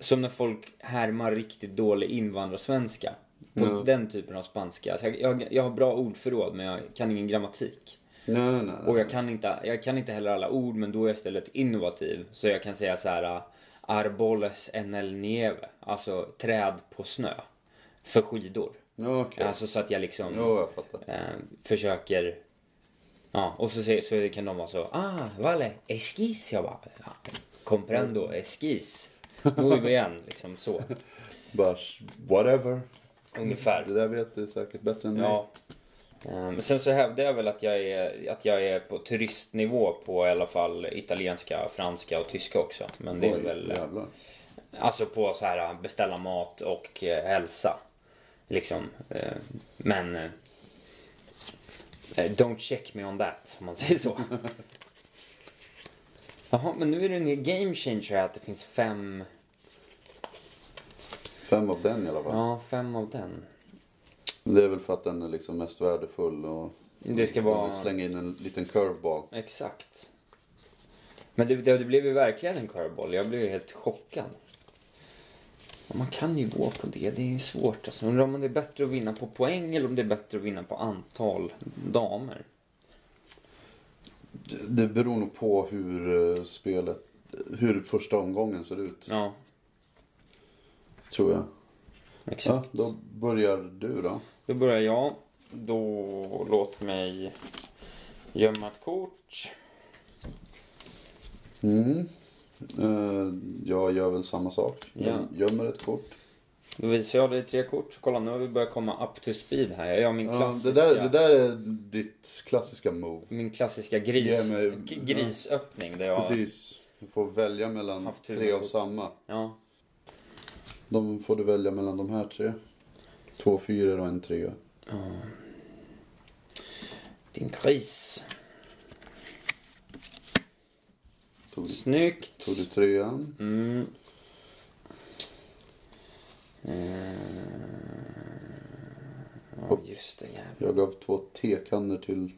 som när folk härmar riktigt dålig invandrarsvenska. På
Ja.
Den typen av spanska. Så jag, jag, jag har bra ordförråd men jag kan ingen grammatik.
Nej, nej, nej.
Och jag kan, inte, jag kan inte heller alla ord men då är jag istället innovativ. Så jag kan säga så här äh, Arboles en el nieve. Alltså träd på snö. För skidor.
Ja, okej.
Alltså så att jag liksom
Jo, jag fattar.
eh, försöker Ja, och så, säger- så kan de vara så Ah, vale, esquis jag bara "Ja, Comprendo, esquis Muy bien, liksom så
Bara, whatever.
Ungefär
Det där vet du säkert bättre än mig.
Ja. Ehm, sen så hävdar jag väl att jag, är, att jag är på turistnivå på i alla fall italienska, franska och tyska också. Men det är
Oj,
väl
jävlar.
alltså på så här beställa mat och eh, hälsa. Liksom. Eh, men eh, don't check me on that om man säger så. Jaha, men nu är det en game changer här att det finns fem,
Fem av den i alla fall.
ja fem av den.
Det är väl för att den är liksom mest värdefull och...
Det ska vara-
Man vill slänga in en liten curveball.
Exakt. Men det, det, det blev ju verkligen en curveball. Jag blev ju helt chockad. Ja, Man kan ju gå på det. Det är ju svårt. Alltså, undrar om det är bättre att vinna på poäng eller om det är bättre att vinna på antal damer.
Det- Det beror nog på hur eh, spelet... Hur första omgången ser ut.
Ja,
Tror jag. Ja,
exakt.
då börjar du då.
Då börjar jag. Då låt mig gömma ett kort.
Mm. Eh, Jag gör väl samma sak.
Ja.
Jag gömmer ett kort.
Då visar jag dig tre kort. Kolla nu har vi börjat komma up to speed här. Jag gör min
Ja,
klassiska,
det, där, det där är ditt klassiska move.
Min klassiska gris,
Ge mig-
g- grisöppning. Där jag,
Precis. Du får välja mellan
Haft tur
tre
med
av
kort.
samma.
ja,
De får du välja mellan de här tre. Två fyror och en trea.
din gris.
Tog,
Snyggt.
tog du trean?
Mm. Eh, Ja, just det. jävlar.
Jag gav två tekannor till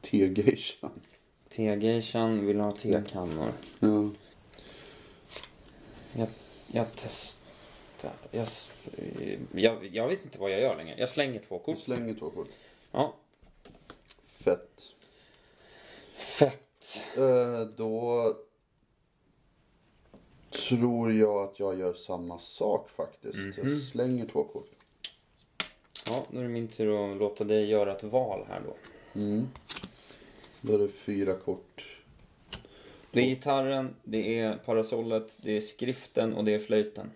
tegeishan.
Tegeishan vill ha tekannor.
Ja.
Jag, jag testar. Jag, s- jag, jag vet inte vad jag gör längre. Jag slänger två
Du
kort.
slänger två kort.
Ja.
Fett.
Fett.
Eh, då tror jag att jag gör samma sak faktiskt. Jag slänger två kort.
Ja, nu är det min tur att låta dig göra ett val här då.
Då är det fyra kort.
Det är gitarren, det är parasollet, det är skriften och det är flöjten.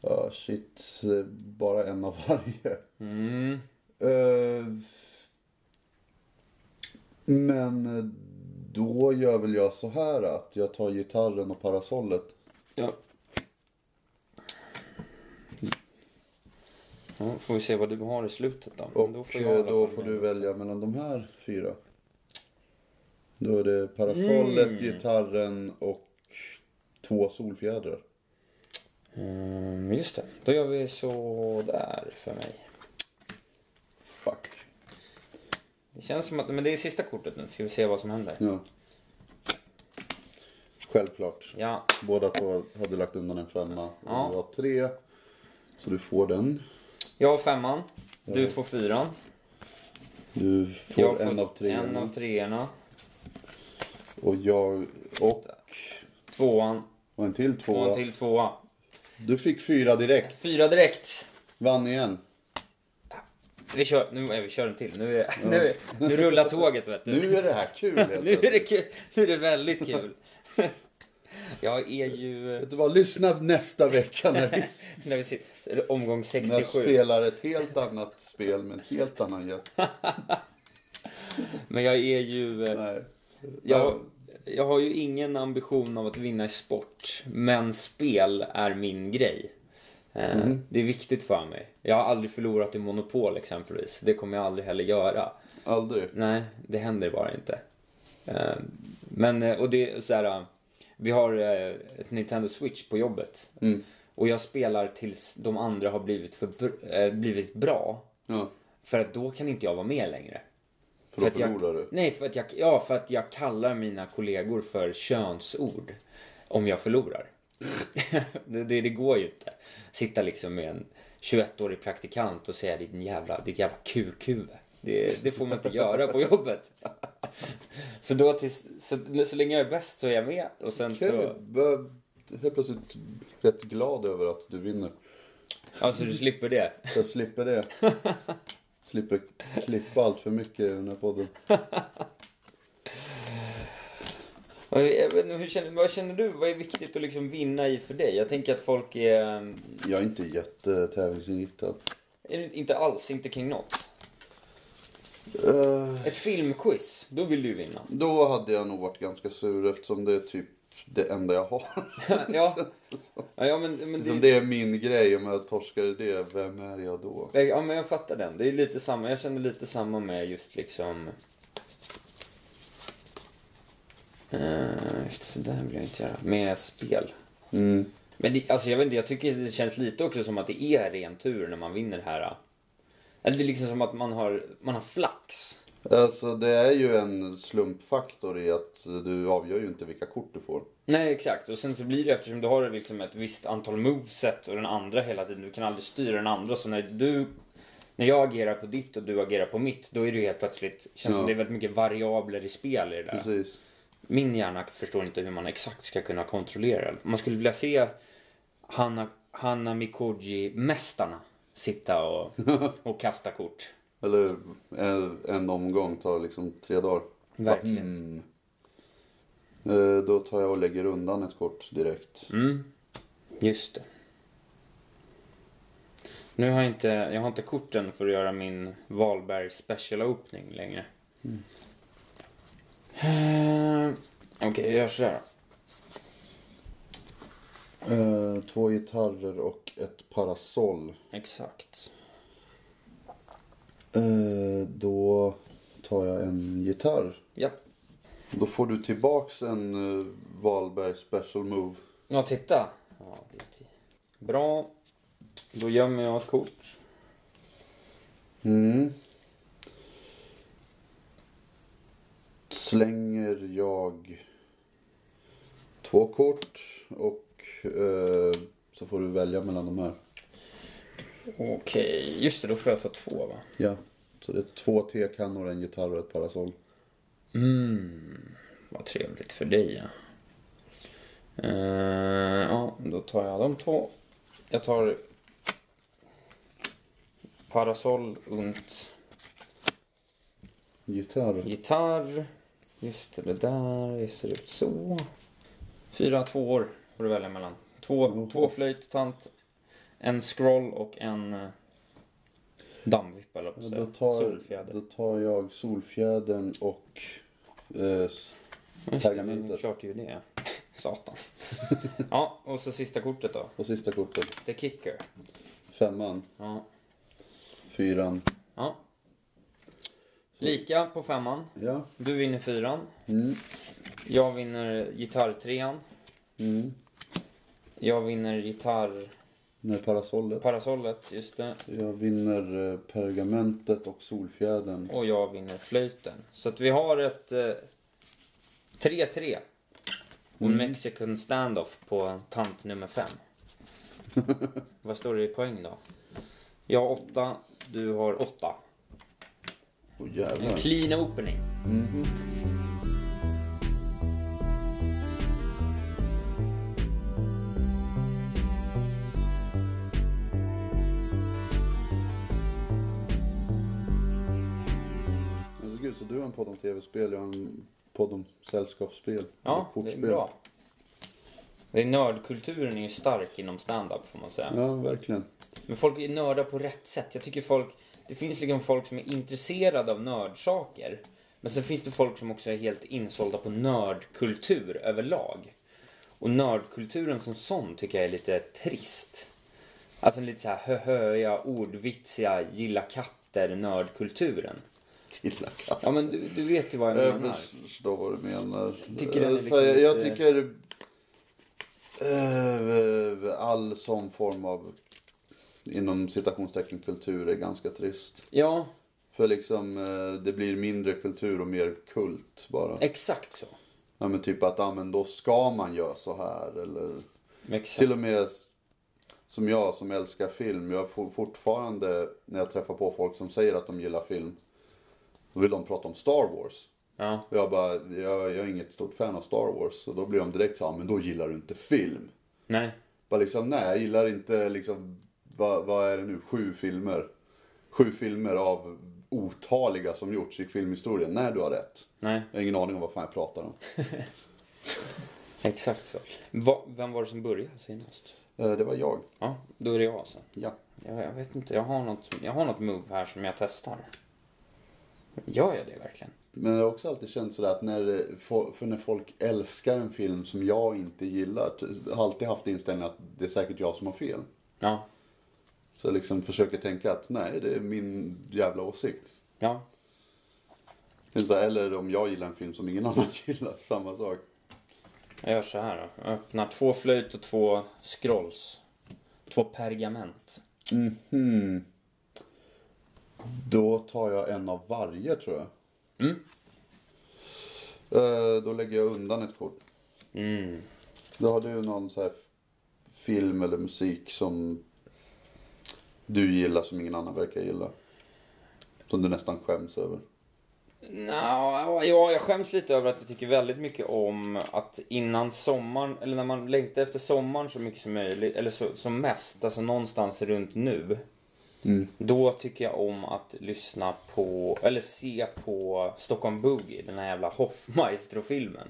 Ah shit, det är bara en av varje.
Mm.
Eh, men då gör väl jag så här att jag tar gitarren och parasollet.
Ja. ja. Får vi se vad du har i slutet då.
Och eh,
Men
då får,
jag i alla fall
du
min.
välja mellan de här fyra. Då är det parasollet,
Mm.
gitarren och två solfjädrar.
Mm, just det. Då gör vi så där för mig.
Fuck.
Det känns som att, men det är sista kortet nu. Ska vi se vad som händer.
Ja. Självklart.
Ja,
Båda två hade lagt undan en femma.
Ja.
Ja. Du har tre. Så du får den.
jag har femman. Du får fyran.
Du får,
Jag
en av tre.
En av treorna.
Och jag och,
Tvåan.
och en till två.
Och en till tvåa.
Du fick fyra direkt.
Fyra direkt.
Vann igen.
Vi kör, nu, nej, vi kör en till. Nu, är, nu, är, nu rullar tåget vet du.
Nu är det här kul helt
Nu är det
plötsligt.
kul. Nu är det väldigt kul. Jag är ju...
Vet du vad, lyssna nästa vecka när vi,
När vi sitter, så är det omgång
när jag
67.
spelar ett helt annat spel med en helt annan gäst.
Men jag är ju... eh,
Nej.
Jag, jag har ju ingen ambition av att vinna i sport. Men spel är min grej. Eh,
Mm.
Det är viktigt för mig. Jag har aldrig förlorat i Monopol exempelvis. Det kommer jag aldrig heller göra.
Aldrig.
Nej, det händer bara inte. Eh, Men, eh, och det är så här. eh, Vi har eh, ett Nintendo Switch på jobbet. Och jag spelar tills de andra har blivit, för, br- eh, blivit bra.
Ja.
För att då kan inte jag vara med längre.
För då
att jag,
förlorar du.
Nej, för att jag, ja, för att jag kallar mina kollegor för könsord. Om jag förlorar. det, det, det går ju inte. Sitta liksom med en 21-årig praktikant och säga din jävla, ditt jävla kukhuvud. Det, det får man inte göra på jobbet. Så då tills, så, så länge jag är bäst så är jag med. Och sen så,
Kevin var helt plötsligt rätt glad över att du vinner.
alltså du slipper det.
Jag slipper det. slipper klippa allt för mycket i den här podden.
Och eh, Jag vet inte, hur känner, vad känner du? Vad är viktigt att liksom vinna i för dig? Jag tänker att folk är... mm,
Jag är inte jättetävlingsinriktad.
är det inte alls, inte kring något.
Eh,
Ett filmquiz, då vill du vinna.
då hade jag nog varit ganska sur eftersom det är typ det enda jag har.
ja. ja, ja, men, men
Eftersom
det,
det är min grej, om jag torskar i det, vem är jag då?
ja, men jag fattar den. Det är lite samma. Jag känner lite samma med just liksom... Uh, så där vill jag inte göra. Med spel.
Mm.
Men det, alltså jag vet inte, jag tycker det känns lite också som att det är ren tur när man vinner här. ah. Eller det är liksom som att man har, man har flax.
Alltså det är ju en slumpfaktor i att du avgör ju inte vilka kort du får.
Nej exakt, och sen så blir det eftersom du har liksom ett visst antal moveset och den andra hela tiden, du kan aldrig styra den andra så när du när jag agerar på ditt och du agerar på mitt då är det ju helt plötsligt, känns
Ja.
som det är väldigt mycket variabler i spel i det där.
Precis.
Min hjärna förstår inte hur man exakt ska kunna kontrollera det. Man skulle vilja se Hanna, Hanna Mikoji-mästarna sitta och, och kasta kort.
Eller en, en omgång tar liksom tre dagar.
Verkligen.
Mm. Eh, Då tar jag och lägger undan ett kort direkt.
Mm, just det. Nu har jag inte, jag har inte korten för att göra min Wahlberg special opening längre. Eh, Okej, jag gör sådär.
Eh, Två gitarrer och ett parasoll.
Exakt.
Eh, Då tar jag en gitarr.
Ja.
Då får du tillbaks en eh, Wahlberg special move.
Ja, titta. Ja, det är ti- Bra. Då gömmer jag ett kort.
Mm. Slänger jag två kort och eh, så får du välja mellan de här.
Okej, just det. Då får jag ta två va?
Ja, så det är två tekannor, en gitarr och ett parasoll.
Mm, vad trevligt för dig ja. Eh, ja, då tar jag de två. Jag tar Parasoll und
Gitarr.
gitarr. Just det, det där det ser ut så. Fyra tvåor får du välja mellan. Två,
Mm.
två flöjttant, en scroll och en eh, dammvippa eller vad
Då
man
tar,
Solfjäder.
då tar jag solfjädern och eh, s-
Just det,
pergamentet.
men klart det är ju det. Satan. ja, och så sista kortet då.
och sista kortet.
The kicker.
Femman,
Ja.
fyran.
ja. Lika på femman.
Ja.
Du vinner fyran.
Mm.
Jag vinner gitarrtrean.
Mm.
Jag vinner gitarrparasollet,
Med parasollet.
just det.
Jag vinner eh, pergamentet och solfjädern.
Och jag vinner flöjten. Så att vi har ett eh, 3-3. Och en Mexican standoff på tant nummer 5. Vad står det i poäng då? Jag har 8, du har 8.
Åh
En
jävlar. Mm.
clean opening.
Men gud, så du har en podd om tv-spel, jag har en podd om sällskapsspel.
Ja,
Och
det är
kortspel.
bra. Det är nördkulturen är ju stark inom stand-up får man säga.
Ja, verkligen.
Men folk är nördar på rätt sätt. Jag tycker folk, det finns liksom folk som är intresserade av nördsaker. Men sen finns det folk som också är helt insålda på nördkultur överlag. Och nördkulturen som sån tycker jag är lite trist. Alltså lite så här höhöja, ordvitsiga, gilla katter, nördkulturen.
Gilla katt.
Ja men du, du vet ju vad jag menar.
Jag förstår vad du menar.
Tycker den är
Alltså, jag,
liksom
jag
lite-
tycker... eh, All sån form av, inom citationstecken, kultur är ganska trist.
Ja,
För liksom, eh, det blir mindre kultur och mer kult bara.
exakt så.
Ja men typ att, ja men då ska man göra så här eller
Exakt.
till och med som jag som älskar film, jag får fortfarande när jag träffar på folk som säger att de gillar film, då vill de prata om Star Wars.
Ja.
Och jag bara, jag, jag är inget stort fan av Star Wars. Så då blir de direkt så här, "Ah, men då gillar du inte film.
Nej.
Bara liksom, nej jag gillar inte liksom, vad, vad är det nu, sju filmer. Sju filmer av otaliga som gjorts i filmhistorien. Nej, du har rätt.
Nej.
Jag har ingen aning om vad fan jag pratar om.
Exakt så. Va, vem var det som började senast?
Eh, Det var jag.
Ja, då är det jag alltså.
Ja.
Jag, jag vet inte, jag har, något, jag har något move här som jag testar. Gör jag det verkligen?
Men jag har också alltid känt sådär att när, det- fo- för när folk älskar en film som jag inte gillar. t- Jag har alltid haft inställningen att det är säkert jag som har fel.
Ja.
Så jag liksom försöker tänka att nej, det är min jävla åsikt.
Ja.
Det är så här, Eller om jag gillar en film som ingen annan gillar, samma sak.
Jag gör så här då. Jag öppnar två flöjt och två scrolls. Två pergament.
Mhm. Då tar jag en av varje tror jag.
Mm.
Eh, Då lägger jag undan ett kort.
Mm.
Då har du någon så här film eller musik som du gillar som ingen annan verkar gilla. Som du nästan skäms över.
Nå, ja, jag skäms lite över att jag tycker väldigt mycket om att innan sommaren, eller när man längtar efter sommaren så mycket som möjligt, eller så, som mest, alltså någonstans runt nu.
Mm.
Då tycker jag om att lyssna på, eller se på Stockholm Boogie, den här jävla Hoffmaestro-filmen.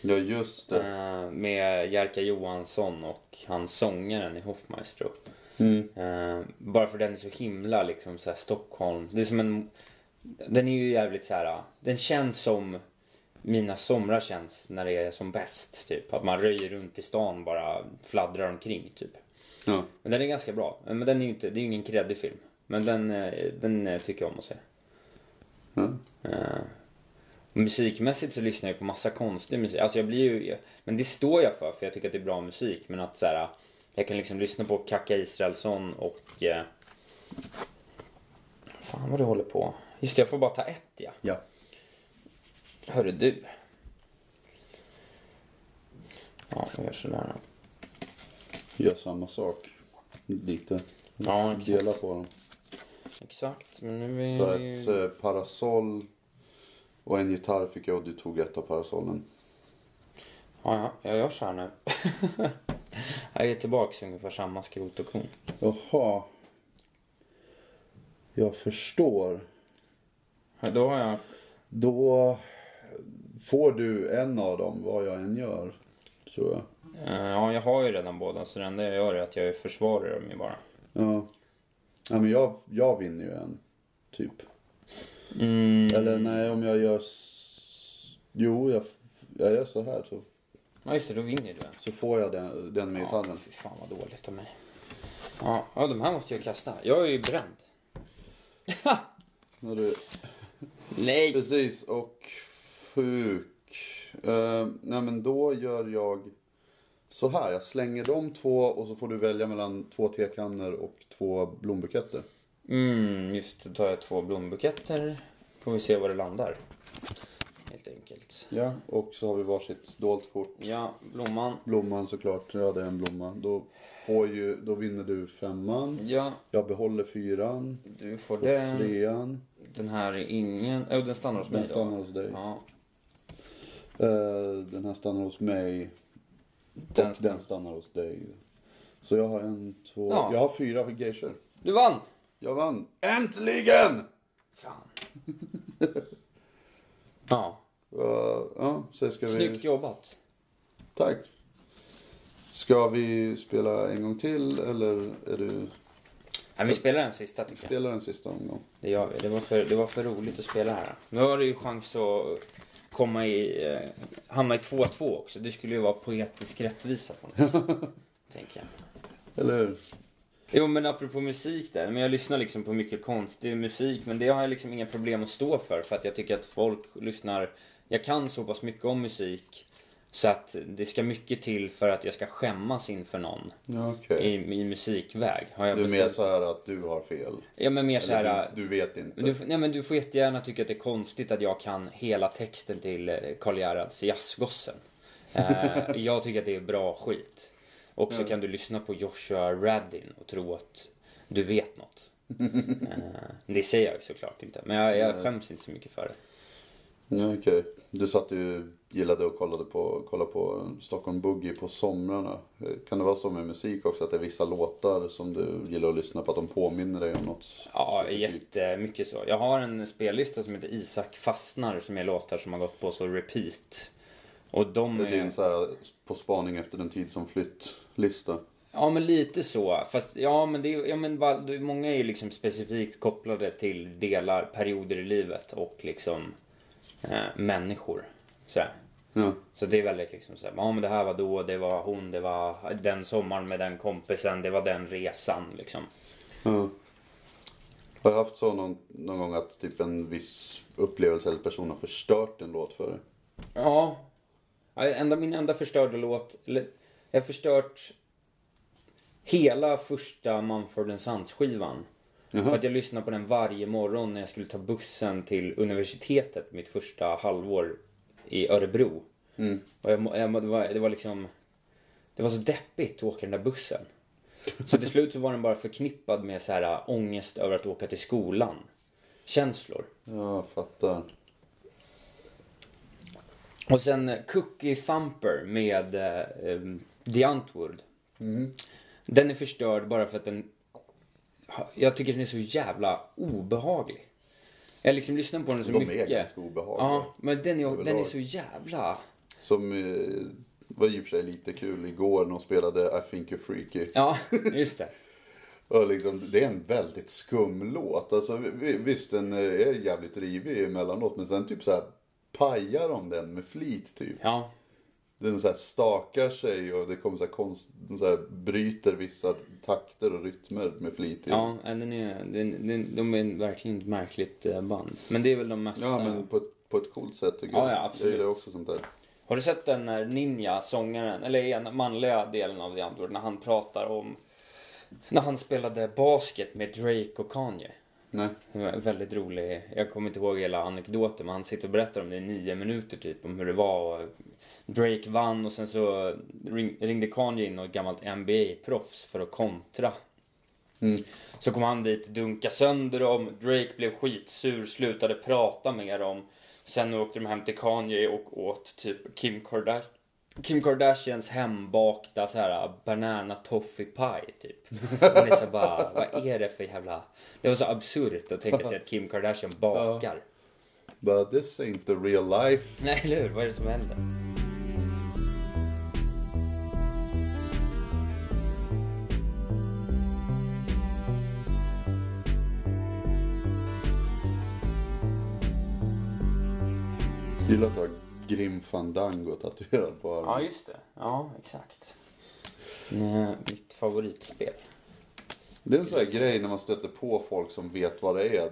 Ja, just det.
Eh, med Jerka Johansson och han sångaren i Hoffmaestro.
Mm.
Eh, bara för den är så himla liksom så här Stockholm. Det är som en... Den är ju jävligt så här. Den känns som mina somrar känns när det är som bäst. Typ att man röjer runt i stan bara fladdrar omkring typ.
Ja.
Men den är ganska bra. Eh, Men den är ju inte, det är ju ingen kreddig film. Men den, eh, den eh, tycker jag om att se.
Ja.
Eh, Musikmässigt så lyssnar jag på massa konstig musik. Alltså jag blir ju, men det står jag för för jag tycker att det är bra musik. Men att så här, jag kan liksom lyssna på Kaka Israelsson och... Eh, fan vad du håller på. Just det, jag får bara ta ett ja.
ja.
Hörru du. Ja, jag gör sådär då.
Gör samma sak. Lite.
Ja, exakt.
Dela på dem.
Exakt, men nu är
Så
det ju-
ett eh, parasoll och en gitarr fick jag och du tog ett av parasollen.
Ja, ja, jag gör så här nu. jag är tillbaks i ungefär samma skrot och korn.
Jaha. Jag förstår.
Ja, Då har jag...
Då får du en av dem vad jag än gör. Tror jag.
eh, Ja, jag har ju redan båda så det enda jag gör är att jag försvarar dem ju bara.
Ja. ja men jag, jag vinner ju en. Typ.
Mm.
Eller nej om jag gör... s- Jo jag, jag gör så här så,
Ja, just det, då vinner du en.
så får jag den, den med
Ja,
gitarren.
fy fan vad dåligt av mig. Ja, ja, de här måste jag kasta. Jag är ju bränd.
När du
Nej!
Precis, och sjuk. Eh, nej men då gör jag så här. Jag slänger de två och så får du välja mellan två tekannor och två blombuketter.
Mm, just det, då tar jag två blombuketter. Får vi se var det landar. Helt enkelt.
Ja. Och så har vi varsitt dolt kort.
Ja, blomman.
Blomman såklart, jag hade en blomma. Då, får ju, då vinner du femman.
Ja,
Jag behåller fyran.
du får
Den.
den.
Trean.
Den här är ingen... Oh, den stannar hos mig
Den
då.
stannar hos dig.
Ja,
Eh, den här stannar hos mig.
den
och den
stannar.
stannar hos dig. Så jag har en, två,
Ja.
jag har fyra geishor.
Du vann!
Jag vann. Äntligen!
Fan. ja,
Uh, ja, så ska vi...
snyggt jobbat.
Tack. Ska vi spela en gång till eller är du...
Nej, vi spelar den sista tycker jag.
Spela den sista omgången.
Det gör vi. Det var för, det var för roligt att spela här. Nu har du ju chans att komma i, eh, hamna i 2-2 också. Det skulle ju vara poetisk rättvisa på något vis. Tänker jag.
Eller hur?
Jo men apropå musik där, men jag lyssnar liksom på mycket konstig musik men det har jag liksom inga problem att stå för för att jag tycker att folk lyssnar, jag kan så pass mycket om musik så att det ska mycket till för att jag ska skämmas inför någon
Ja, okej.
i, i musikväg. Har jag
Du är mer
bestämt-
så här att du har fel.
Ja men mer så här,
Eller du, du vet inte.
men Du, nej, men du får jättegärna tycka att det är konstigt att jag kan hela texten till eh, Karl Gerhards Jazzgossen. Eh, jag tycker att det är bra skit. Och så kan du lyssna på Joshua Radin och tro att du vet något. Eh, det säger jag ju såklart inte. Men jag, jag skäms inte så mycket för det.
Nej, okej. Du satt ju, gillade och kollade på, kollade på Stockholm Boogie på somrarna. Eh, Kan det vara så med musik också, att det är vissa låtar som du gillar att lyssna på, att de påminner dig om något?
Ja, jättemycket så. Jag har en spellista som heter Isak fastnar som är låtar som har gått på så repeat. Och de
Det är
är...
en så här på spaning efter den tid som flytt-lista.
Ja, men lite så. Fast ja, men, det är, ja, men va- det är- många är ju liksom specifikt kopplade till delar, perioder i livet och liksom eh, människor. Så, här.
Ja.
så det är väldigt liksom så här, ja men det här var då, det var hon, det var den sommaren med den kompisen, det var den resan liksom.
Ja. Har du haft så någon, någon gång att typ en viss upplevelse eller person har förstört en låt för dig?
Ja. Ja, Enda, min enda förstörda låt, eller jag har förstört hela första Mumford Sons skivan. För att jag lyssnade på den varje morgon när jag skulle ta bussen till universitetet mitt första halvår i Örebro. Och jag, må- jag, må- det, var, det var liksom, det var så deppigt att åka den där bussen. Så till slut så var den bara förknippad med så här äh, ångest över att åka till skolan. Känslor.
Ja, jag fattar.
Och sen eh, Cookie Thumper med eh, eh, The Antwoord.
Mm.
Den är förstörd bara för att den... Jag tycker den är så jävla obehaglig. Jag liksom lyssnar på den så
De är
mycket.
ganska obehagliga.
Ja, men den är, den är
Överlag.
så jävla...
Som eh, var i och för sig lite kul igår när de spelade I think you're freaky.
Ja, just det.
Och liksom, det är en väldigt skum låt. Alltså, vi- vi- visst, den eh, är jävligt rivig emellanåt, men sen typ så här pajar de den med flit typ.
Ja,
Den så här stakar sig och det kommer så här konst... De så här bryter vissa takter och rytmer med flit. typ.
ja den är, den, den, de är verkligen ett märkligt eh, band. Men det är väl de eh, mesta.
Ja, men på ett, på ett coolt sätt tycker
Ja,
jag.
ja, absolut.
Jag gillar också sånt där.
Har du sett den när Ninja, sångaren, eller den manliga delen av The Antwoord, när han pratar om när han spelade basket med Drake och Kanye?
Nej.
Det var en väldigt rolig, jag kommer inte ihåg hela anekdoten men han sitter och berättar om det i nio minuter typ om hur det var och Drake vann och sen så ring, ringde Kanye in något gammalt NBA-proffs för att kontra. Så kom han dit och dunkade sönder dem, Drake blev skitsur, slutade prata med dem. Sen åkte de hem till Kanye och åt typ Kim, Kardash- Kim Kardashians hembakta så här banana toffee pie typ. Man är så bara, vad är det för jävla... Det var så absurt att tänka sig att Kim Kardashian bakar.
But this ain't the real life.
Nej, eller hur? Vad är det som händer?
Jag gillar att ha Grim Fandango tatuerad på armen.
Ja, just det. Ja, exakt. Nej, Mitt favoritspel.
Det är en sån här grej när man stöter på folk som vet vad det är.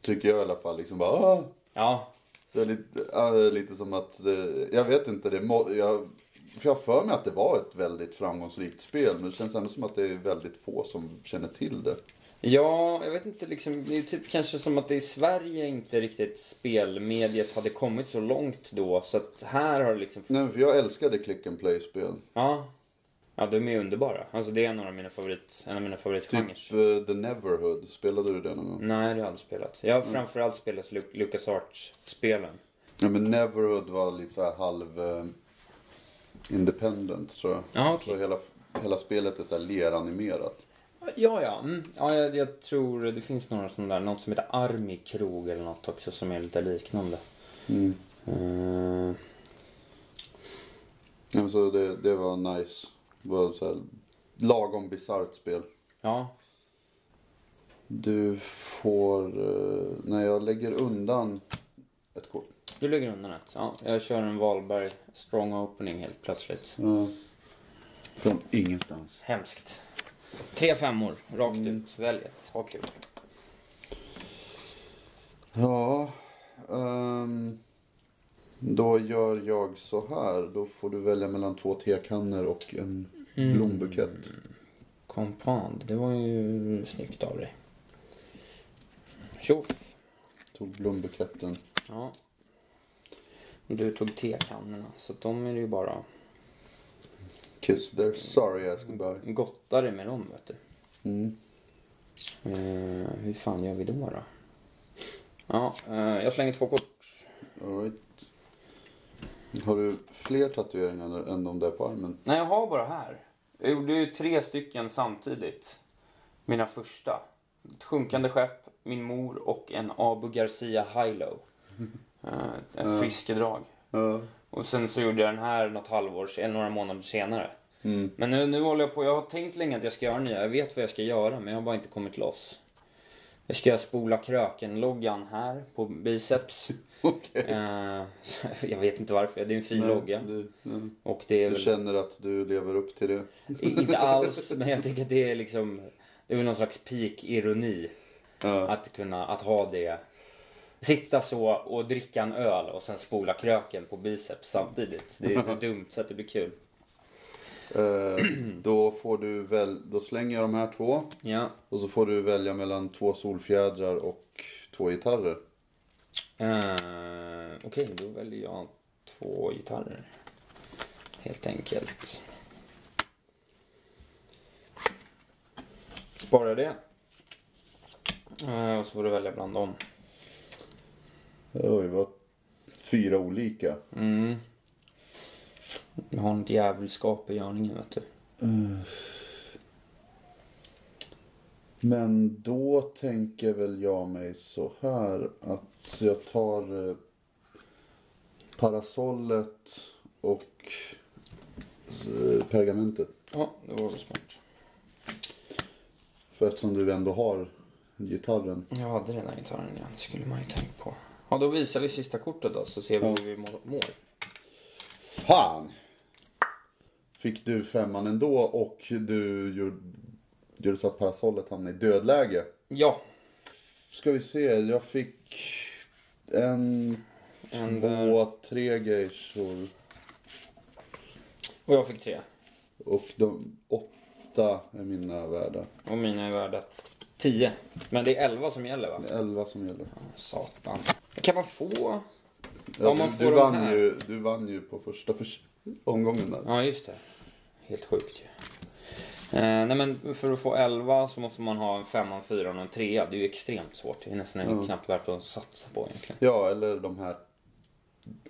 Tycker jag i alla fall. Liksom bara, ah!
Ja,
Det är lite, ja, det är lite som att, eh, jag vet inte, det må, jag, för jag har för mig att det var ett väldigt framgångsrikt spel. Men det känns ändå som att det är väldigt få som känner till det.
Ja, jag vet inte liksom. Det är typ kanske som att det i Sverige inte riktigt spelmediet hade kommit så långt då. Så att här har det liksom...
Nej, men för jag älskade click and play-spel.
Ja. Ja, de är underbara. Alltså det är en av mina favorit... En av mina favoritgenrer.
Typ eh, The Neverhood, spelade du det någon gång?
Nej, det har jag aldrig spelat. Jag har framförallt spelat Lu- Lucas spelen
Ja men Neverhood var lite så här halv eh, independent tror jag.
Ja, okej.
Så hela, hela spelet är så här leranimerat.
Ja, ja. Mm. ja jag, jag tror det finns några sådana där. Något som heter Army Krog eller något också som är lite liknande.
Mm.
Eh,
Ja, men så det, det var nice. Det var så här, lagom bisarrt spel.
ja.
Du får, eh, när jag lägger undan ett kort.
Du lägger undan ett. Ja, jag kör en Wahlberg strong opening helt plötsligt.
Ja. Från ingenstans.
Hemskt. Tre femmor, rakt ut. Välj ett. Ha kul.
Ja. ehm, då gör jag så här. Då får du välja mellan två tekannor och en blombukett.
Kompand, det var ju snyggt av dig. Tjo.
Tog blombuketten.
Ja. Du tog tekannorna, så de är det ju bara...
'Cause they're sorry ass goodbye.
Gottare med dem vet du.
Mm.
Eh, hur fan gör vi då då? Ja, eh, jag slänger två kort.
All right. Har du fler tatueringar än de där på armen?
Nej, jag har bara här. Jag gjorde ju tre stycken samtidigt. Mina första. Ett sjunkande skepp, min mor och en Abu Garcia Hilo. Eh, Ett fiskedrag.
Ja.
Och sen så gjorde jag den här något halvår, eller några månader senare.
Mm.
Men nu, nu håller jag på, jag har tänkt länge att jag ska göra nya. Jag vet vad jag ska göra men jag har bara inte kommit loss. Jag ska spola kröken-loggan här på biceps.
Okej.
Eh, så jag vet inte varför, det är en fin logga.
Du, du,
Och det är
du
väl
känner att du lever upp till det?
Inte alls, men jag tycker att det är liksom Det är väl någon slags peak-ironi
Ja.
att kunna, att ha det Sitta så och dricka en öl och sen spola kröken på biceps samtidigt. Det är så dumt så att det blir kul.
Eh, då får du väl, då slänger jag de här två.
Ja.
Och så får du välja mellan två solfjädrar och två gitarrer.
Eh, Okej, då väljer jag två gitarrer. Helt enkelt. Sparar jag det. Eh, och så får du välja bland dem.
Oj, det var fyra olika.
Mm. Jag har något djävulskap i görningen vet du.
Men då tänker väl jag mig så här att jag tar eh, parasollet och eh, pergamentet.
Ja, det var väl smart.
För eftersom du ändå har gitarren.
Jag hade den här gitarren igen, det skulle man ju tänkt på. Ja, då visar vi sista kortet då så ser vi
Ja.
hur vi må- mår.
Fan! Fick du femman ändå och du gjorde, gjorde så att parasollet hamnade i dödläge.
Ja,
Ska vi se, jag fick en,
En
två, tre geishor.
och jag fick tre.
Och de åtta är mina värda.
Och mina är värda tio. Men det är elva som gäller va?
Det är elva som gäller.
Satan. Kan man få?
Ja,
Om man
du,
får
du,
de
vann
här.
ju, du vann ju på första förs- omgången där.
Ja, just det. Helt sjukt ju. Eh, nej men för att få 11 så måste man ha en femma, en fyra och en trea. Det är ju extremt svårt. Det är nästan knappt värt att satsa på egentligen.
Ja, eller de här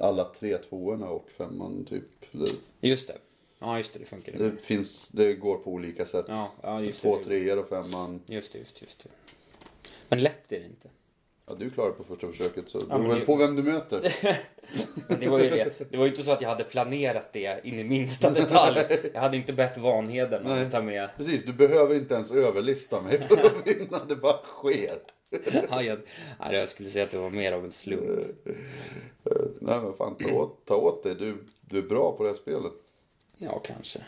alla tre tvåorna och femman typ. Det,
Just det. Ja, just det. Det funkar.
det finns, det går på olika sätt.
Ja, ja just
Två
det.
treor och femman.
Just det, just det, just det. Men lätt är det inte.
Ja, du klarar det på första försöket så det
men
beror väl
det-
på vem du möter.
Men det var ju det. Det var ju inte så att jag hade planerat det in i minsta detalj. Jag hade inte bett Vanheden
Nej.
att ta med.
Precis, du behöver inte ens överlista mig för att vinna, det bara sker.
Ja, jag, nej, jag skulle säga att det var mer av en slump.
Eh, Nej men fan, ta åt, ta åt dig. Du, du är bra på det här spelet.
Ja, kanske.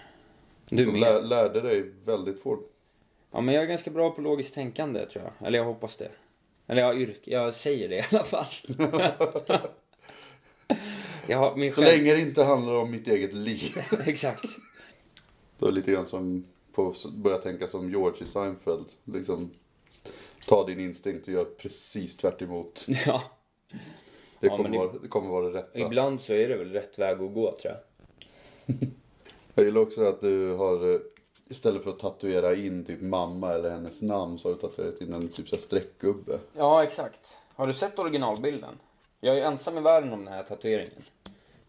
Du
Du
med.
lär, lärde dig väldigt fort.
Ja, men jag är ganska bra på logiskt tänkande tror jag. Eller jag hoppas det. Eller jag, yrk- jag säger det i alla fall. jag har min
Så
själv...
länge det inte handlar om mitt eget liv.
Exakt.
Då är det lite grann som på börja tänka som George i Seinfeld. Liksom, ta din instinkt och gör precis tvärt emot.
Ja.
Det
Ja,
kommer,
men det-
Vara, det kommer vara det rätta.
Ibland så är det väl rätt väg att gå tror jag.
Jag gillar också att du har eh, istället för att tatuera in typ mamma eller hennes namn så har du tatuerat in en typ så här streckgubbe.
Ja, exakt. Har du sett originalbilden? Jag är ensam i världen om den här tatueringen.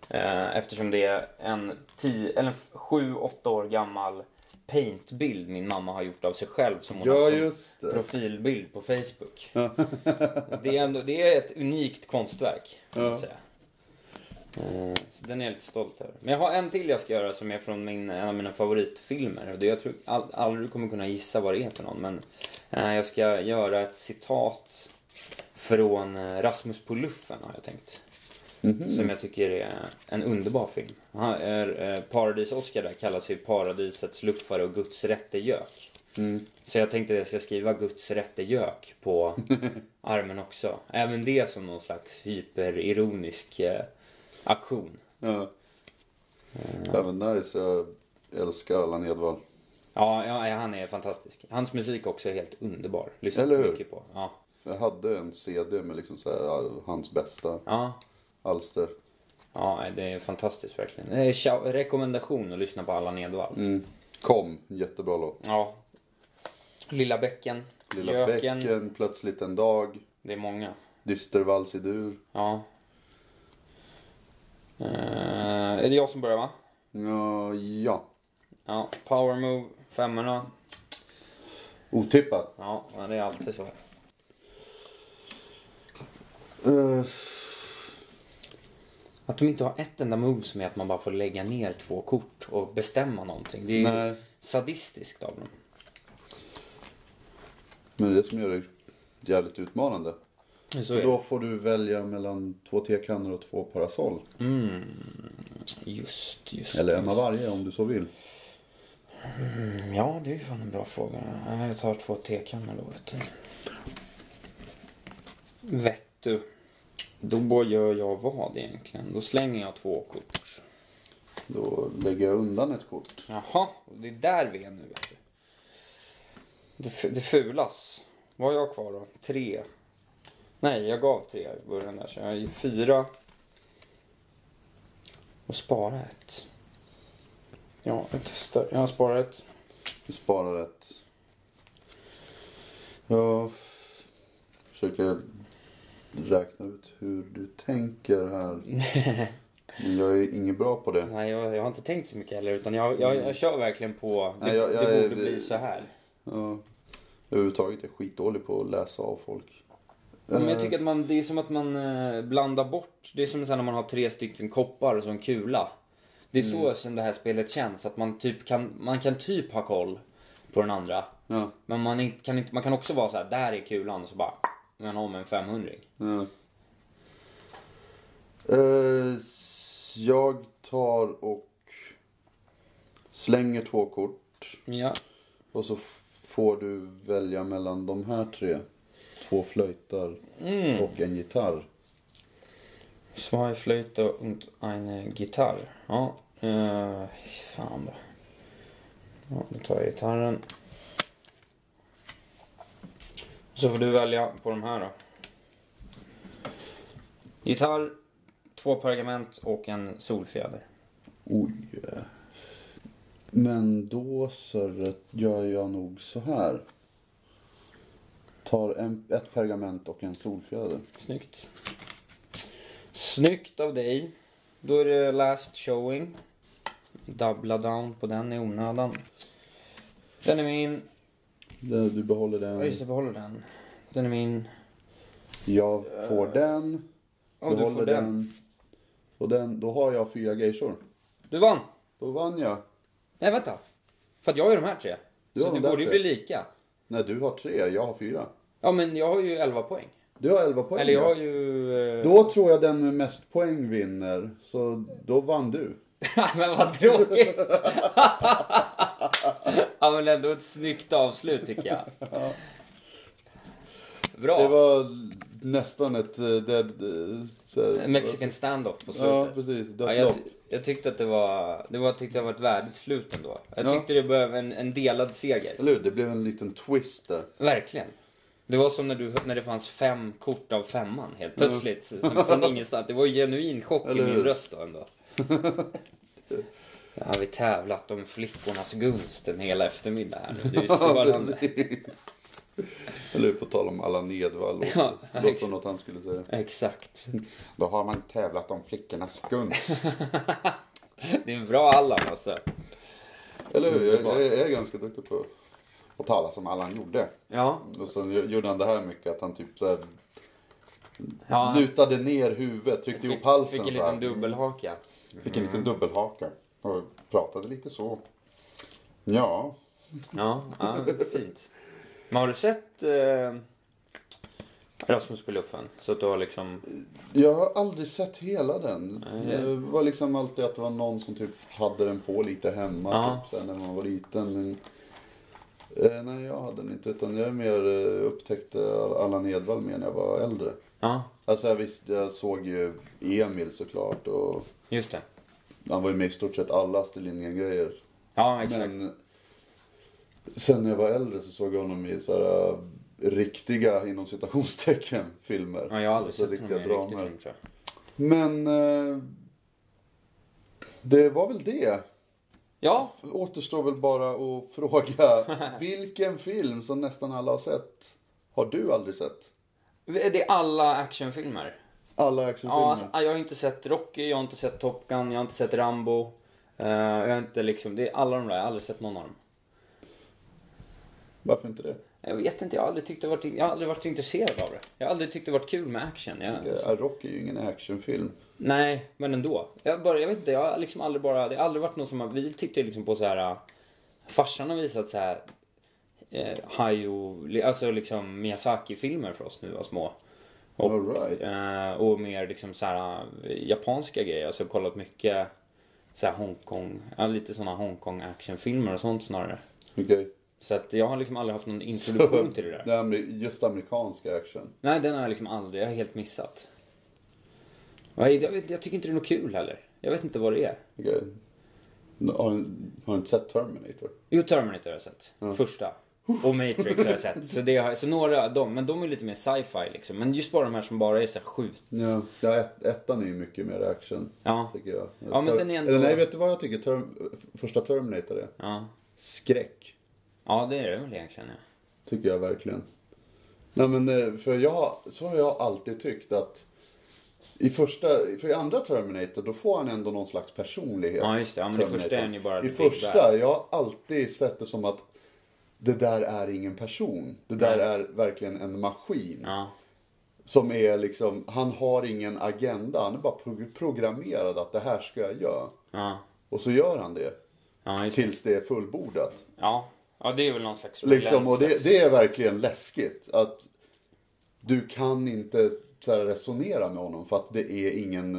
Eh, eftersom det är en 10 eller 7-8 år gammal paintbild min mamma har gjort av sig själv som hon
Ja
har som
just det.
profilbild på Facebook. det, är ändå, det är ett unikt konstverk, kan man
Ja.
säga. Eh, Så den är jag lite stolt över. Men jag har en till jag ska göra som är från min, en av mina favoritfilmer. Och det jag tror all, aldrig du kommer kunna gissa vad det är för någon. Men eh, jag ska göra ett citat från eh, Rasmus på luffen har jag tänkt. Som jag tycker är en underbar film. Han är, eh, Paradis-Oscar där kallas ju paradisets luffare och Guds rätte gök.
Mm.
Så jag tänkte att jag ska skriva Guds rätte gök på armen också. Även det som någon slags hyperironisk eh, aktion.
Ja. Även nice. Jag älskar Allan Edwall.
Ja, ja, han är fantastisk. Hans musik också är helt underbar. Lyssnar
Eller hur?
mycket på. Ja.
Jag hade en CD med liksom så här, hans eh, bästa
Ja.
alster.
Ja, det är fantastiskt verkligen. Eh, tja- Rekommendation att lyssna på Allan Edwall.
Kom, jättebra låt.
Ja. Lilla bäcken.
Lilla
Göken.
bäcken, Plötsligt en dag,
Det är många.
Dystervals i dur.
Ja. Eh, är det jag som börjar va?
Ja, ja.
Ja, power move, femmorna.
otippat.
Ja, men det är alltid så.
Eh,
Att de inte har ett enda move som är att man bara får lägga ner två kort och bestämma någonting. Det är ju
nej,
sadistiskt av dem.
men det är det som gör det jävligt utmanande.
Så
Så
är det.
då får du välja mellan två tekannor och två parasoll.
Mm. Just, just.
Eller en av varje om du så vill.
Mm, Ja, det är ju fan en bra fråga. Ja, Jag tar två tekannor då vet du. Vet du. Då gör jag vad egentligen? Då slänger jag två kort.
Då lägger jag undan ett kort.
Jaha, det är där vi är nu. Vet du. Det, fu- det fulas. Vad har jag kvar då? Tre. Nej, jag gav tre i början där. Så jag har ju fyra. Och spara ett. Ja, jag testar. Jag sparar ett.
Du sparar ett. Jag försöker räkna ut hur du tänker här. Men jag är inget bra på det.
Nej, jag, jag har inte tänkt så mycket heller. Utan jag, jag, jag kör verkligen på. Det,
Nej, jag- jag
det
är-
borde bli så här.
Ja. Överhuvudtaget är jag skitdålig på att läsa av folk.
Ja,
Eh.
Men jag tycker att man, det är som att man eh, blandar bort. Det är som så här när man har tre stycken koppar och så en kula. Det är så som det här spelet känns. Att man, typ kan, man kan typ ha koll på den andra.
Ja,
Men man inte- kan, inte, man kan också vara så här, där är kulan och så bara, men om en 500
ja. Eh, s- Jag tar och slänger två kort.
Ja.
Och så f- får du välja mellan de här tre. Två flöjtar
Mm.
och en gitarr.
Zwei Flöte und eine Gitarr. Ja, eh, fan då. Ja, då tar jag gitarren. Så får du välja på de här då. Gitarr, två pergament och en solfjäder.
Oj. Men då Sörre gör jag nog så här. Tar en, ett pergament och en solfjäder.
Snyggt. Snyggt av dig. Då är det last showing. Dubbla down på den i onödan. Den är min.
Det- Du behåller
Ja
den.
just det, behåller den. Den är min.
Jag får den.
Eh, Ja, du får den.
Och den, då har jag fyra geishor.
Du vann!
Då vann jag.
Nej vänta. För att jag har ju de här tre.
Du
så
har
det
de där
borde ju
tre.
bli lika.
Nej, du har tre, jag har fyra.
Ja men jag har ju 11 poäng.
Du har elva poäng.
Eller jag
ja.
har ju... eh,
Då tror jag den med mest poäng vinner. Så då vann du.
men vad tråkigt! ja men ändå ett snyggt avslut tycker jag. Bra.
Det var nästan ett eh, dead... eh, så här-
Mexican standoff på slutet.
Ja, precis.
Ja,
Deathlock.
jag, ty- jag tyckte att det var, det var, tyckte jag var ett värdigt slut ändå. Jag
Ja.
tyckte det blev en, en delad seger.
Eller hur? Det blev en liten twist där.
Verkligen. Det var som när, du, när det fanns fem kort av femman helt plötsligt. så- Som från ingenstans. Det var ju genuin chock i
Eller
min
hur?
röst då ändå. Nu har vi tävlat om flickornas gunst en hel eftermiddag här nu. Det är ju strålande.
Eller hur? På tal om Allan Edwall.
Ja,
Låter- Låter som något han skulle säga.
Exakt.
Då har man tävlat om flickornas gunst.
Det är en bra Allan alltså.
Eller hur? Jag, jag, är ganska duktig på att tala som Allan gjorde.
Ja.
Och sen gö- gjorde han det här mycket att han typ så här
ja
lutade ner huvudet, tryckte ihop halsen
fick en
så här.
liten Mm. dubbelhaka.
Fick en liten dubbelhaka. Och pratade lite så. Ja.
Ja, ja fint. Men har du sett eh, Rasmus på luffen? Så att du har liksom...
Jag har aldrig sett hela den. Det var liksom alltid att det var någon som typ hade den på lite hemma
Ja.
typ, sen när man var liten. Men, eh, nej, jag hade den inte. Utan jag mer eh, upptäckte Allan Edwall mer när jag var äldre.
Ja,
Alltså jag visste, jag såg ju Emil såklart och
just det.
han var ju med i stort sett alla Astrid Lindgren-grejer.
Ja, exakt.
Men sen när jag var äldre så såg jag honom i så här eh, riktiga, inom citationstecken, filmer.
ja, jag har aldrig
Alltså,
sett honom i en
riktiga
riktig
dramer.
film tror jag.
Men eh, Det var väl det.
Ja,
Återstår väl bara att fråga. Vilken film som nästan alla har sett har du aldrig sett?
det är alla actionfilmer.
Alla
Ja,
actionfilmer?
alltså, jag har inte sett Rocky, jag har inte sett Top Gun, jag har inte sett Rambo. Eh, jag har inte liksom, det är alla de där, jag har aldrig sett någon av dem.
Varför inte det?
Jag vet inte, jag har aldrig, tyckt det varit, jag har aldrig varit intresserad av det. Jag har aldrig tyckt det varit kul med action. Jag,
Eh, Rocky är ju ingen actionfilm.
Nej, men ändå. Jag, bara, jag vet inte, jag har liksom aldrig bara, det har aldrig varit någon som har, vi tyckte liksom på så här. äh, farsan har visat så här. Eh, Hayao, li- alltså liksom Miyazaki-filmer för oss nu var små. Och,
All right.
eh, och mer liksom så här äh, japanska grejer. Alltså jag har kollat mycket så här Hongkong, ja, lite såna Hongkong actionfilmer och sånt snarare.
Okej.
Så att jag har liksom aldrig haft någon introduktion till det där.
Det här med just amerikansk action.
Nej, den har jag liksom aldrig, jag har helt missat. Jag, jag, vet- jag tycker inte det är något kul heller. Jag vet inte vad det är.
Okej. Har, har du inte sett Terminator?
Jo, Terminator har jag sett. Första. Och Matrix har jag sett. Så, det har, så några av dem, men de är lite mer sci-fi liksom. Men just bara de här som bara är så här skjut.
Ja. ja ett, ettan är ju mycket mer action.
Ja.
Tycker jag.
Ja, men den är ändå-
Eller nej, vet du vad jag tycker Term... första Terminator är?
Ja.
Skräck.
Ja, det är det väl egentligen ja.
Tycker jag verkligen. Nej men eh, för jag, så har jag alltid tyckt att i första, för i andra Terminator då får han ändå någon slags personlighet.
Ja, just det. Ja, men
Terminator.
i första är han ju bara
I
ett Big
första, jag har alltid sett det som att det där är ingen person. Det där
Nej.
är verkligen en maskin.
Ja.
Som är liksom, han har ingen agenda. Han är bara pro- programmerad att det här ska jag göra.
Ja.
Och så gör han det.
Ja, just det.
Tills det är fullbordat.
Ja. ja, det är väl någon slags...
Liksom, och det,
relentless-
det är verkligen läskigt. Att du kan inte så här resonera med honom för att det är, ingen,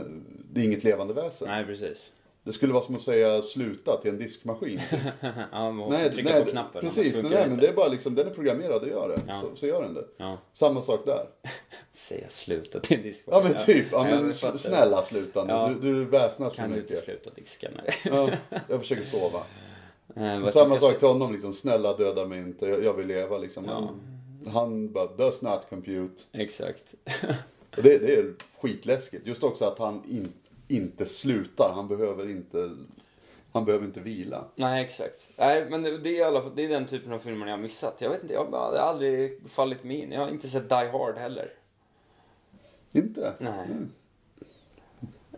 det är inget levande väsen.
Nej, precis.
Det skulle vara som att säga sluta till en diskmaskin.
ja, man måste
nej,
trycka på knappen. annars
precis.
funkar
Nej,
det
nej, men
inte.
det är bara liksom, den är programmerad att göra det. Så, så gör den det.
Ja.
Samma sak där.
Säga sluta till diskmaskin.
Ja men typ, ja, men,
jag fattar.
snälla sluta nu.
Ja.
Du, du väsnas för
Kan du inte
mycket.
sluta diska? Nej.
Ja, jag försöker sova.
Eh, vad
Samma
tycker jag-
sak till honom liksom, snälla döda mig inte, jag, jag vill leva liksom. Han, han bara, does not compute.
Exakt.
Och det, det är skitläskigt. Just också att han in, inte slutar. Han behöver inte, han behöver inte vila.
Nej, exakt. Nej, men det det är, i alla fall, det är den typen av filmer jag har missat. Jag vet inte, jag har bara- det har aldrig fallit mig in. Jag har inte sett Die Hard heller.
Inte?
Nej.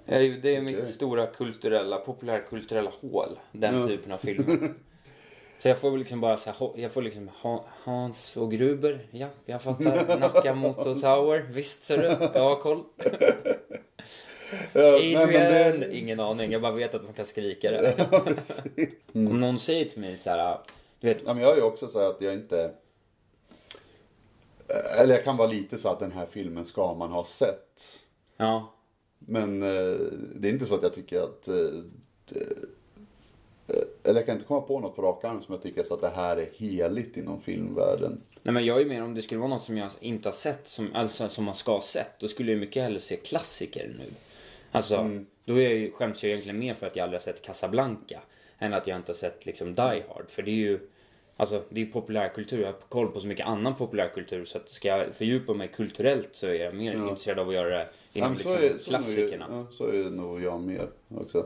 Det Mm. är, ju- det är mitt
Okej.
stora kulturella, populärkulturella hål. Den typen av filmer. Så jag får väl liksom bara så här, ho- jag får liksom Ha- Hans och Gruber, ja, jag fattar. Nakamoto Tower, visst ser du, jag har koll.
Eh, nej,
Adrian!
men det-
Ingen aning, jag bara vet att man kan skrika det. Om någon säger till mig så här, du vet,
Ja, men jag är ju också så här att jag inte... eh, Eller jag kan vara lite så att den här filmen ska man ha sett.
ja,
Men eh, det är inte så att jag tycker att... Eh, det- eh, eller jag kan inte komma på något på rak arm som jag tycker så att det här är heligt inom filmvärlden.
Nej men jag är mer om det skulle vara något som jag inte har sett, som, alltså som man ska ha sett. Då skulle jag mycket hellre se klassiker nu. Alltså,
Mm.
då är jag, ju- skäms jag egentligen mer för att jag aldrig har sett Casablanca. Än att jag inte har sett liksom Die Hard. För det är ju, alltså det är ju populärkultur. Jag har koll på så mycket annan populärkultur. Så att ska jag fördjupa mig kulturellt så är jag mer intresserad av att göra det
Ja,
inom
men
liksom
är- är nog-
klassikerna.
ja, så är nog jag med också.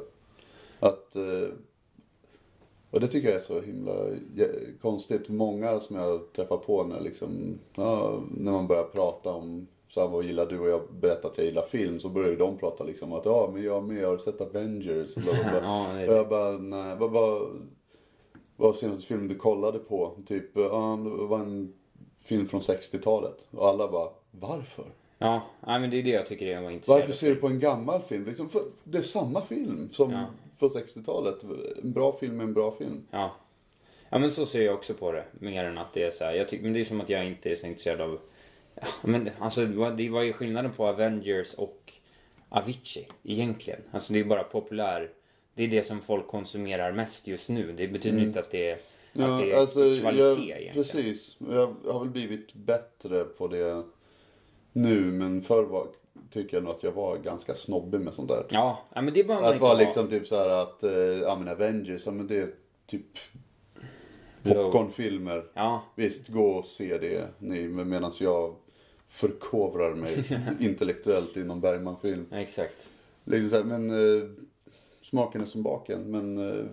Att, eh, och det tycker jag är så himla jä- konstigt. Många som jag träffar på när, liksom, ja, när man börjar prata om så här, vad gillar du och jag berättar att jag gillar film så börjar ju de prata liksom att ja men jag med, jag har sett Avengers och bla, bla,
Ja,
bla.
det är
och jag bara nej, vad, vad, vad var senaste filmen du kollade på? Typ, ja det var en film från 60-talet. Och alla bara, varför?
Ja, nej, men det är det jag tycker jag var intresserad
Varför
av.
ser du på en gammal film? Liksom för, det är samma film som
Ja.
från 60-talet. En bra film är en bra film.
Ja. Ja men så ser jag också på det. Mer än att det är så här. Jag tycker, men det är som att jag inte är så intresserad av... Ja, men alltså det var- det var ju skillnaden på Avengers och Avicii egentligen. Alltså det är bara populär. Det är det som folk konsumerar mest just nu. Det betyder inte att det är, att det är kvalitet egentligen.
Mm. alltså, jag, precis. Jag har väl blivit bättre på det nu, men förr var, tycker jag nog att jag var ganska snobbig med sånt där.
Ja, ja, men det är bara man
att
inte
vara
har
liksom typ så här att, eh, ja men Avengers, ja men det är typ
low-
popcornfilmer.
Ja,
Visst, gå och se det ni, medan jag förkovrar mig intellektuellt inom Bergman-film.
exakt.
Liksom så här, men eh, smaken är som baken. Men eh,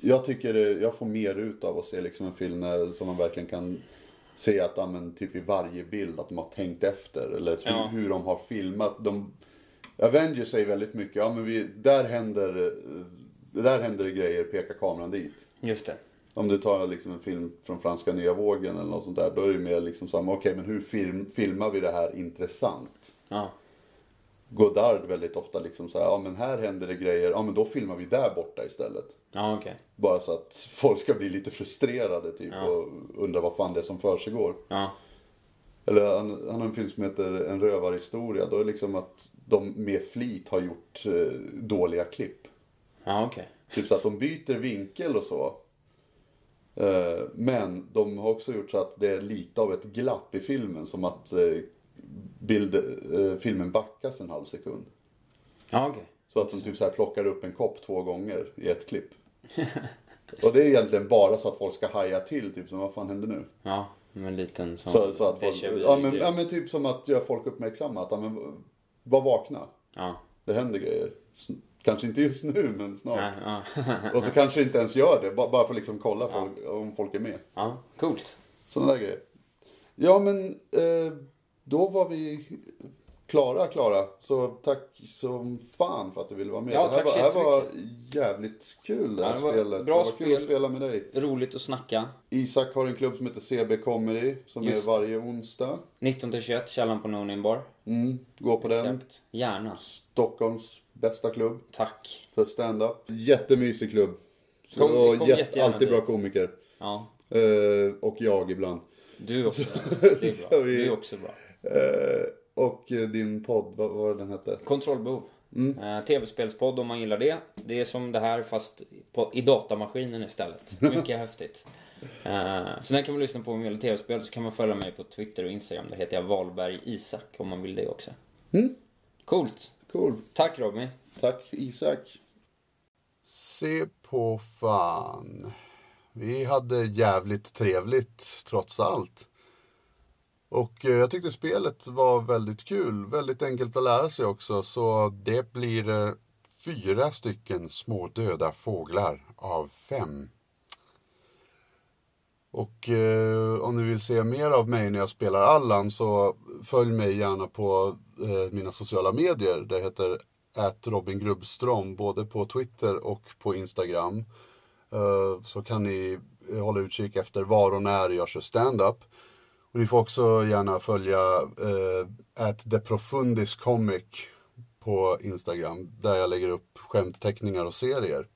jag tycker eh, jag får mer ut av att se liksom en film när, som man verkligen kan se att ja, men, typ i varje bild att de har tänkt efter. Eller hur,
Ja.
hur de har filmat. De, Avengers säger väldigt mycket, ja men vi, där händer eh, där händer det grejer, pekar kameran dit.
Just det.
Om du tar liksom en film från franska nya vågen eller något sånt där, då är det mer liksom samma, okej men hur film, filmar vi det här intressant?
Ja.
Godard väldigt ofta liksom så här, ja men här händer det grejer, ja men då filmar vi där borta istället.
Ja, okej.
Bara så att folk ska bli lite frustrerade typ
Ja.
och undra vad fan det är som försiggår.
Ja.
Eller han, han har en film som heter En rövarhistoria, då är det liksom att de med flit har gjort eh, dåliga klipp.
Ja, okej.
Typ så att de byter vinkel och så. Eh, Men de har också gjort så att det är lite av ett glapp i filmen. Som att eh, bild, eh, filmen backas en halv sekund.
Ja, okej.
Så att de typ så här plockar upp en kopp två gånger i ett klipp. Och det är egentligen bara så att folk ska haja till. Typ som vad fan hände nu?
Ja, men en liten sån.
Så, så att folk,
déjà vu
ja, men,
grej.
ja men typ som att göra folk uppmärksamma. Att ja, men, var vakna.
ja.
Det händer grejer. S- Kanske inte just nu men snart.
Ja, ja.
Och så kanske inte ens gör det. ba- Bara för att liksom kolla folk, om folk är med.
ja, coolt.
Sådana där grejer. Ja men eh, då var vi klara Klara. Så tack som fan för att du ville vara med.
Ja,
det här,
tack så
var, här var jävligt kul det här
Ja, det var
spelet.
bra
det var kul att
spel.
spela med dig.
Roligt att snacka.
Isak har en klubb som heter CB Comedy som
Just.
är varje onsdag.
19-21, Källan på Nonin Bar.
Mm, gå på den.
Exakt. Gärna.
Stockholms bästa klubb
Tack.
för stand-up. Jättemysig klubb. Så,
Kom- kom
jätte-
jättegärna
alltid bra
dit.
komiker.
Ja,
Eh, och jag ibland.
du också. Det är
Så
bra.
vi-
Du är också bra.
Eh, och eh, din podd, vad var den hette?
Kontrollbehov.
Mm.
Eh, Tv-spelspodd om man gillar det. Det är som det här fast på, i datamaskinen istället. Mycket häftigt. Eh, så den kan man lyssna på om man gillar tv-spel. Så kan man följa mig på Twitter och Instagram. Där heter jag Valberg Isak om man vill det också.
Mm.
Coolt.
Cool.
Tack Robin.
Tack Isak. Se på fan. Vi hade jävligt trevligt trots allt. Och eh, jag tyckte spelet var väldigt kul. Väldigt enkelt att lära sig också. Så det blir eh, fyra stycken små döda fåglar av fem. Och eh, om ni vill se mer av mig när jag spelar Allan så följ mig gärna på eh, mina sociala medier. Det heter att Robin Grubbström både på Twitter och på Instagram. Eh, så kan ni eh, hålla utkik efter var och när jag kör stand-up. Och ni får också gärna följa att eh, Deprofundis Comic på Instagram där jag lägger upp skämtteckningar och serier.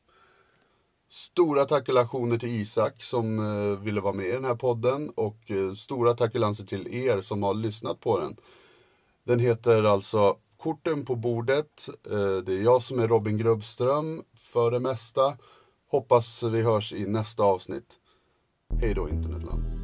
Stora tackulationer till Isak som eh, ville vara med i den här podden och eh, stora tackulanser till er som har lyssnat på den. Den heter alltså Korten på bordet. Eh, det är jag som är Robin Grubbström för det mesta. Hoppas vi hörs i nästa avsnitt. Hej då internetland.